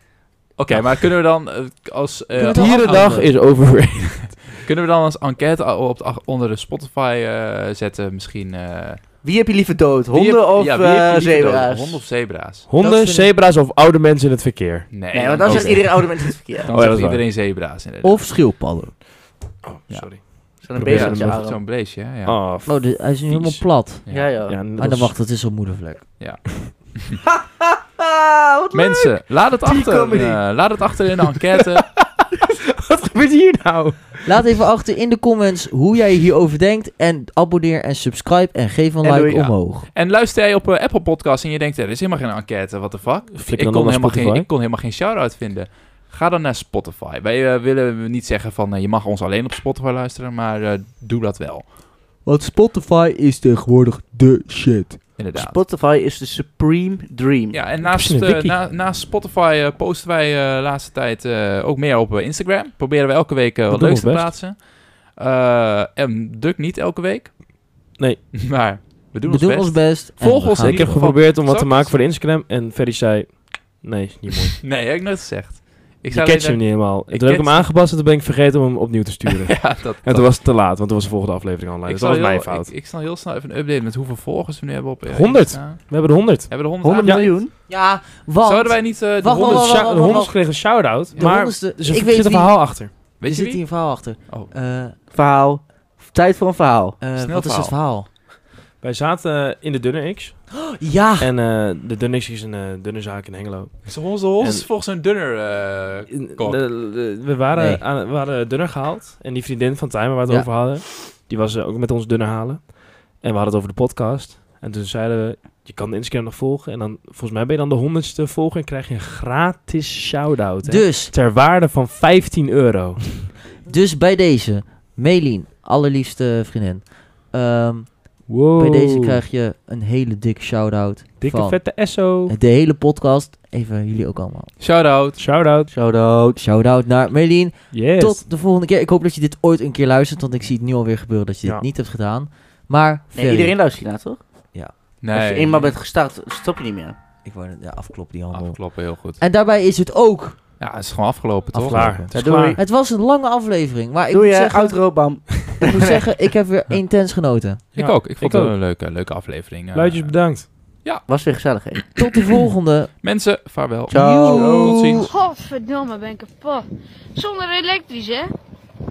Oké, maar kunnen we dan eh, als... eh,
Kunnen we het wel
Dierendag
afhouden?
is overrated.
Kunnen we dan als enquête al op de ach- onder de Spotify eh, zetten misschien? eh,
wie heb je liever dood?
wie
Honden
heb-
of
ja, wie heb je
eh,
liever dood?
zebra's?
Honden of zebra's?
Dat
Honden,
vind ik-
zebra's of oude mensen in het verkeer.
Nee,
Nee, want dan
ook
zegt
niet.
iedere oude mens het verkeer.
Dan
Oh, ja,
zegt
dat is waar.
iedereen zebra's inderdaad.
Of schildpadden.
Oh,
Ja.
sorry.
Zo'n
Probeer
beest
hem
op je
nog
arm.
Zo'n beestje, ja. ja.
Oh, f-
Oh, de- hij is nu
Vies.
helemaal plat.
Ja, joh.
ja, net
Ah, dan
als-
wacht, dat is al moedervlek.
Ah, wat leuk!
Mensen, laat het achter.
comedy.
eh, laat het achter in de enquête.
Wat gebeurt hier nou?
Laat even achter in de comments hoe jij hierover denkt. En abonneer en subscribe en geef een
En doe
like
je-
omhoog.
en luister jij op eh, Apple Podcast en je denkt, er is helemaal geen enquête, what the fuck?
Flikker
Ik
dan
kon,
naar
helemaal geen,
Spotify.
ik kon helemaal geen shout-out vinden. Ga dan naar Spotify. Wij eh, willen niet zeggen van, eh, je mag ons alleen op Spotify luisteren, maar eh, doe dat wel.
Want Spotify is tegenwoordig de shit.
Inderdaad.
Spotify is de supreme dream.
Ja, en
Ik
naast,
zie een
eh,
wiki.
na, naast Spotify eh, posten wij de laatste tijd eh, ook meer op eh, Instagram. Proberen we elke week eh, wat
doen
leuks te
we
plaatsen. Eh, en Duk niet elke week.
Nee.
Maar we doen
we
ons
doen
best.
ons best. en
Volg
we
ons
gaan-
in
Ik
ieder
heb
geval-
geprobeerd om wat te
Zak-
maken voor de Instagram en Ferry zei... Nee, is niet mooi.
Nee, heb ik nooit gezegd. Ik
je
zei
catcht hem
alleen
niet helemaal.
Ik
toen heb ik hem
catch-
aangepast en toen ben ik vergeten om hem opnieuw te sturen.
dat- Ja, dat,
En
dat-
toen was het te laat, want toen was de volgende aflevering online.
ik
Dus dat
zal
was
heel-
mijn fout.
Ik, ik snel heel snel even een update met hoeveel volgers we nu hebben op eh,
100.
Insta.
We hebben de 100.
Hebben we de 100,
100
aangehaald?
miljoen?
Ja, want...
Zouden wij niet eh, de
Wacht,
100...
wacht, wacht, wacht,
De
wacht.
100 kregen een shout-out.
de
Maar er
honderdste-
zit
ik
er
weet
zit een
wie-
verhaal achter.
Er
Weet je
zit hier
wie?
een verhaal achter.
Oh.
Eh, eh,
Verhaal. Tijd voor een verhaal.
wat is
verhaal.
het verhaal?
Wij zaten eh, in de Dunne X.
Ja!
En eh, de Dunne X is een eh, dunne zaak in Hengelo.
Is onze hond is
En-
volgens een dunner... eh,
In-
Kok.
de- de- we, waren
Nee.
aan, we waren dunner gehaald. En die vriendin van Timer waar we het
Ja.
over hadden, die was eh, ook met ons dunner halen. En we hadden het over de podcast. En toen zeiden we, je kan de Instagram nog volgen. En dan, volgens mij ben je dan de honderdste volger en krijg je een gratis shout-out. hè.
Dus,
Ter waarde van 15 euro.
dus bij deze, Melien, allerliefste vriendin. Ehm,
Wow.
Bij deze krijg je een hele dikke shout-out
Dikke
van
vette SO.
de hele podcast. Even jullie ook allemaal.
Shout-out.
Shout-out.
Shout-out. Shout-out naar Melien.
Yes.
Tot de volgende keer. Ik hoop dat je dit ooit een keer luistert, want ik zie het nu alweer gebeuren dat je dit
Ja.
niet hebt gedaan. Maar
Nee,
Ferry-
iedereen luistert hiernaar, toch? Als je
Nee.
eenmaal bent gestart, stop je niet meer.
Ik wou net- ja, afkloppen die handel.
Afgelopen, heel goed.
En daarbij is het ook.
Ja, het is gewoon afgelopen, toch?
Afgelopen.
Klaar. Het is
Ja, doei.
klaar.
Het was een lange aflevering, maar ik
Doe
moet,
je, oh.
zeggen,
outro, bam.
ik moet zeggen, ik heb weer intens genoten.
Ik
Ja,
ook. Ik vond
ik
het
ook.
een leuke, leuke aflevering. eh.
Luidjes bedankt.
Was weer gezellig, hè?
Tot de volgende.
Mensen, vaarwel.
Ciao.
Tot ziens.
Godverdomme, ben ik kapot. Zonder elektrisch, hè?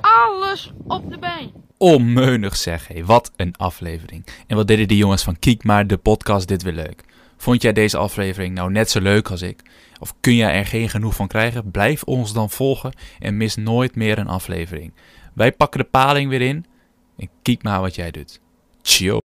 Alles op de been.
Onmeunig zeg, hé. Wat een aflevering. En wat deden die jongens van Kiek maar de podcast dit weer leuk. Vond jij deze aflevering nou net zo leuk als ik? Of kun jij er geen genoeg van krijgen? Blijf ons dan volgen en mis nooit meer een aflevering. Wij pakken de paling weer in en kiek maar wat jij doet. Ciao.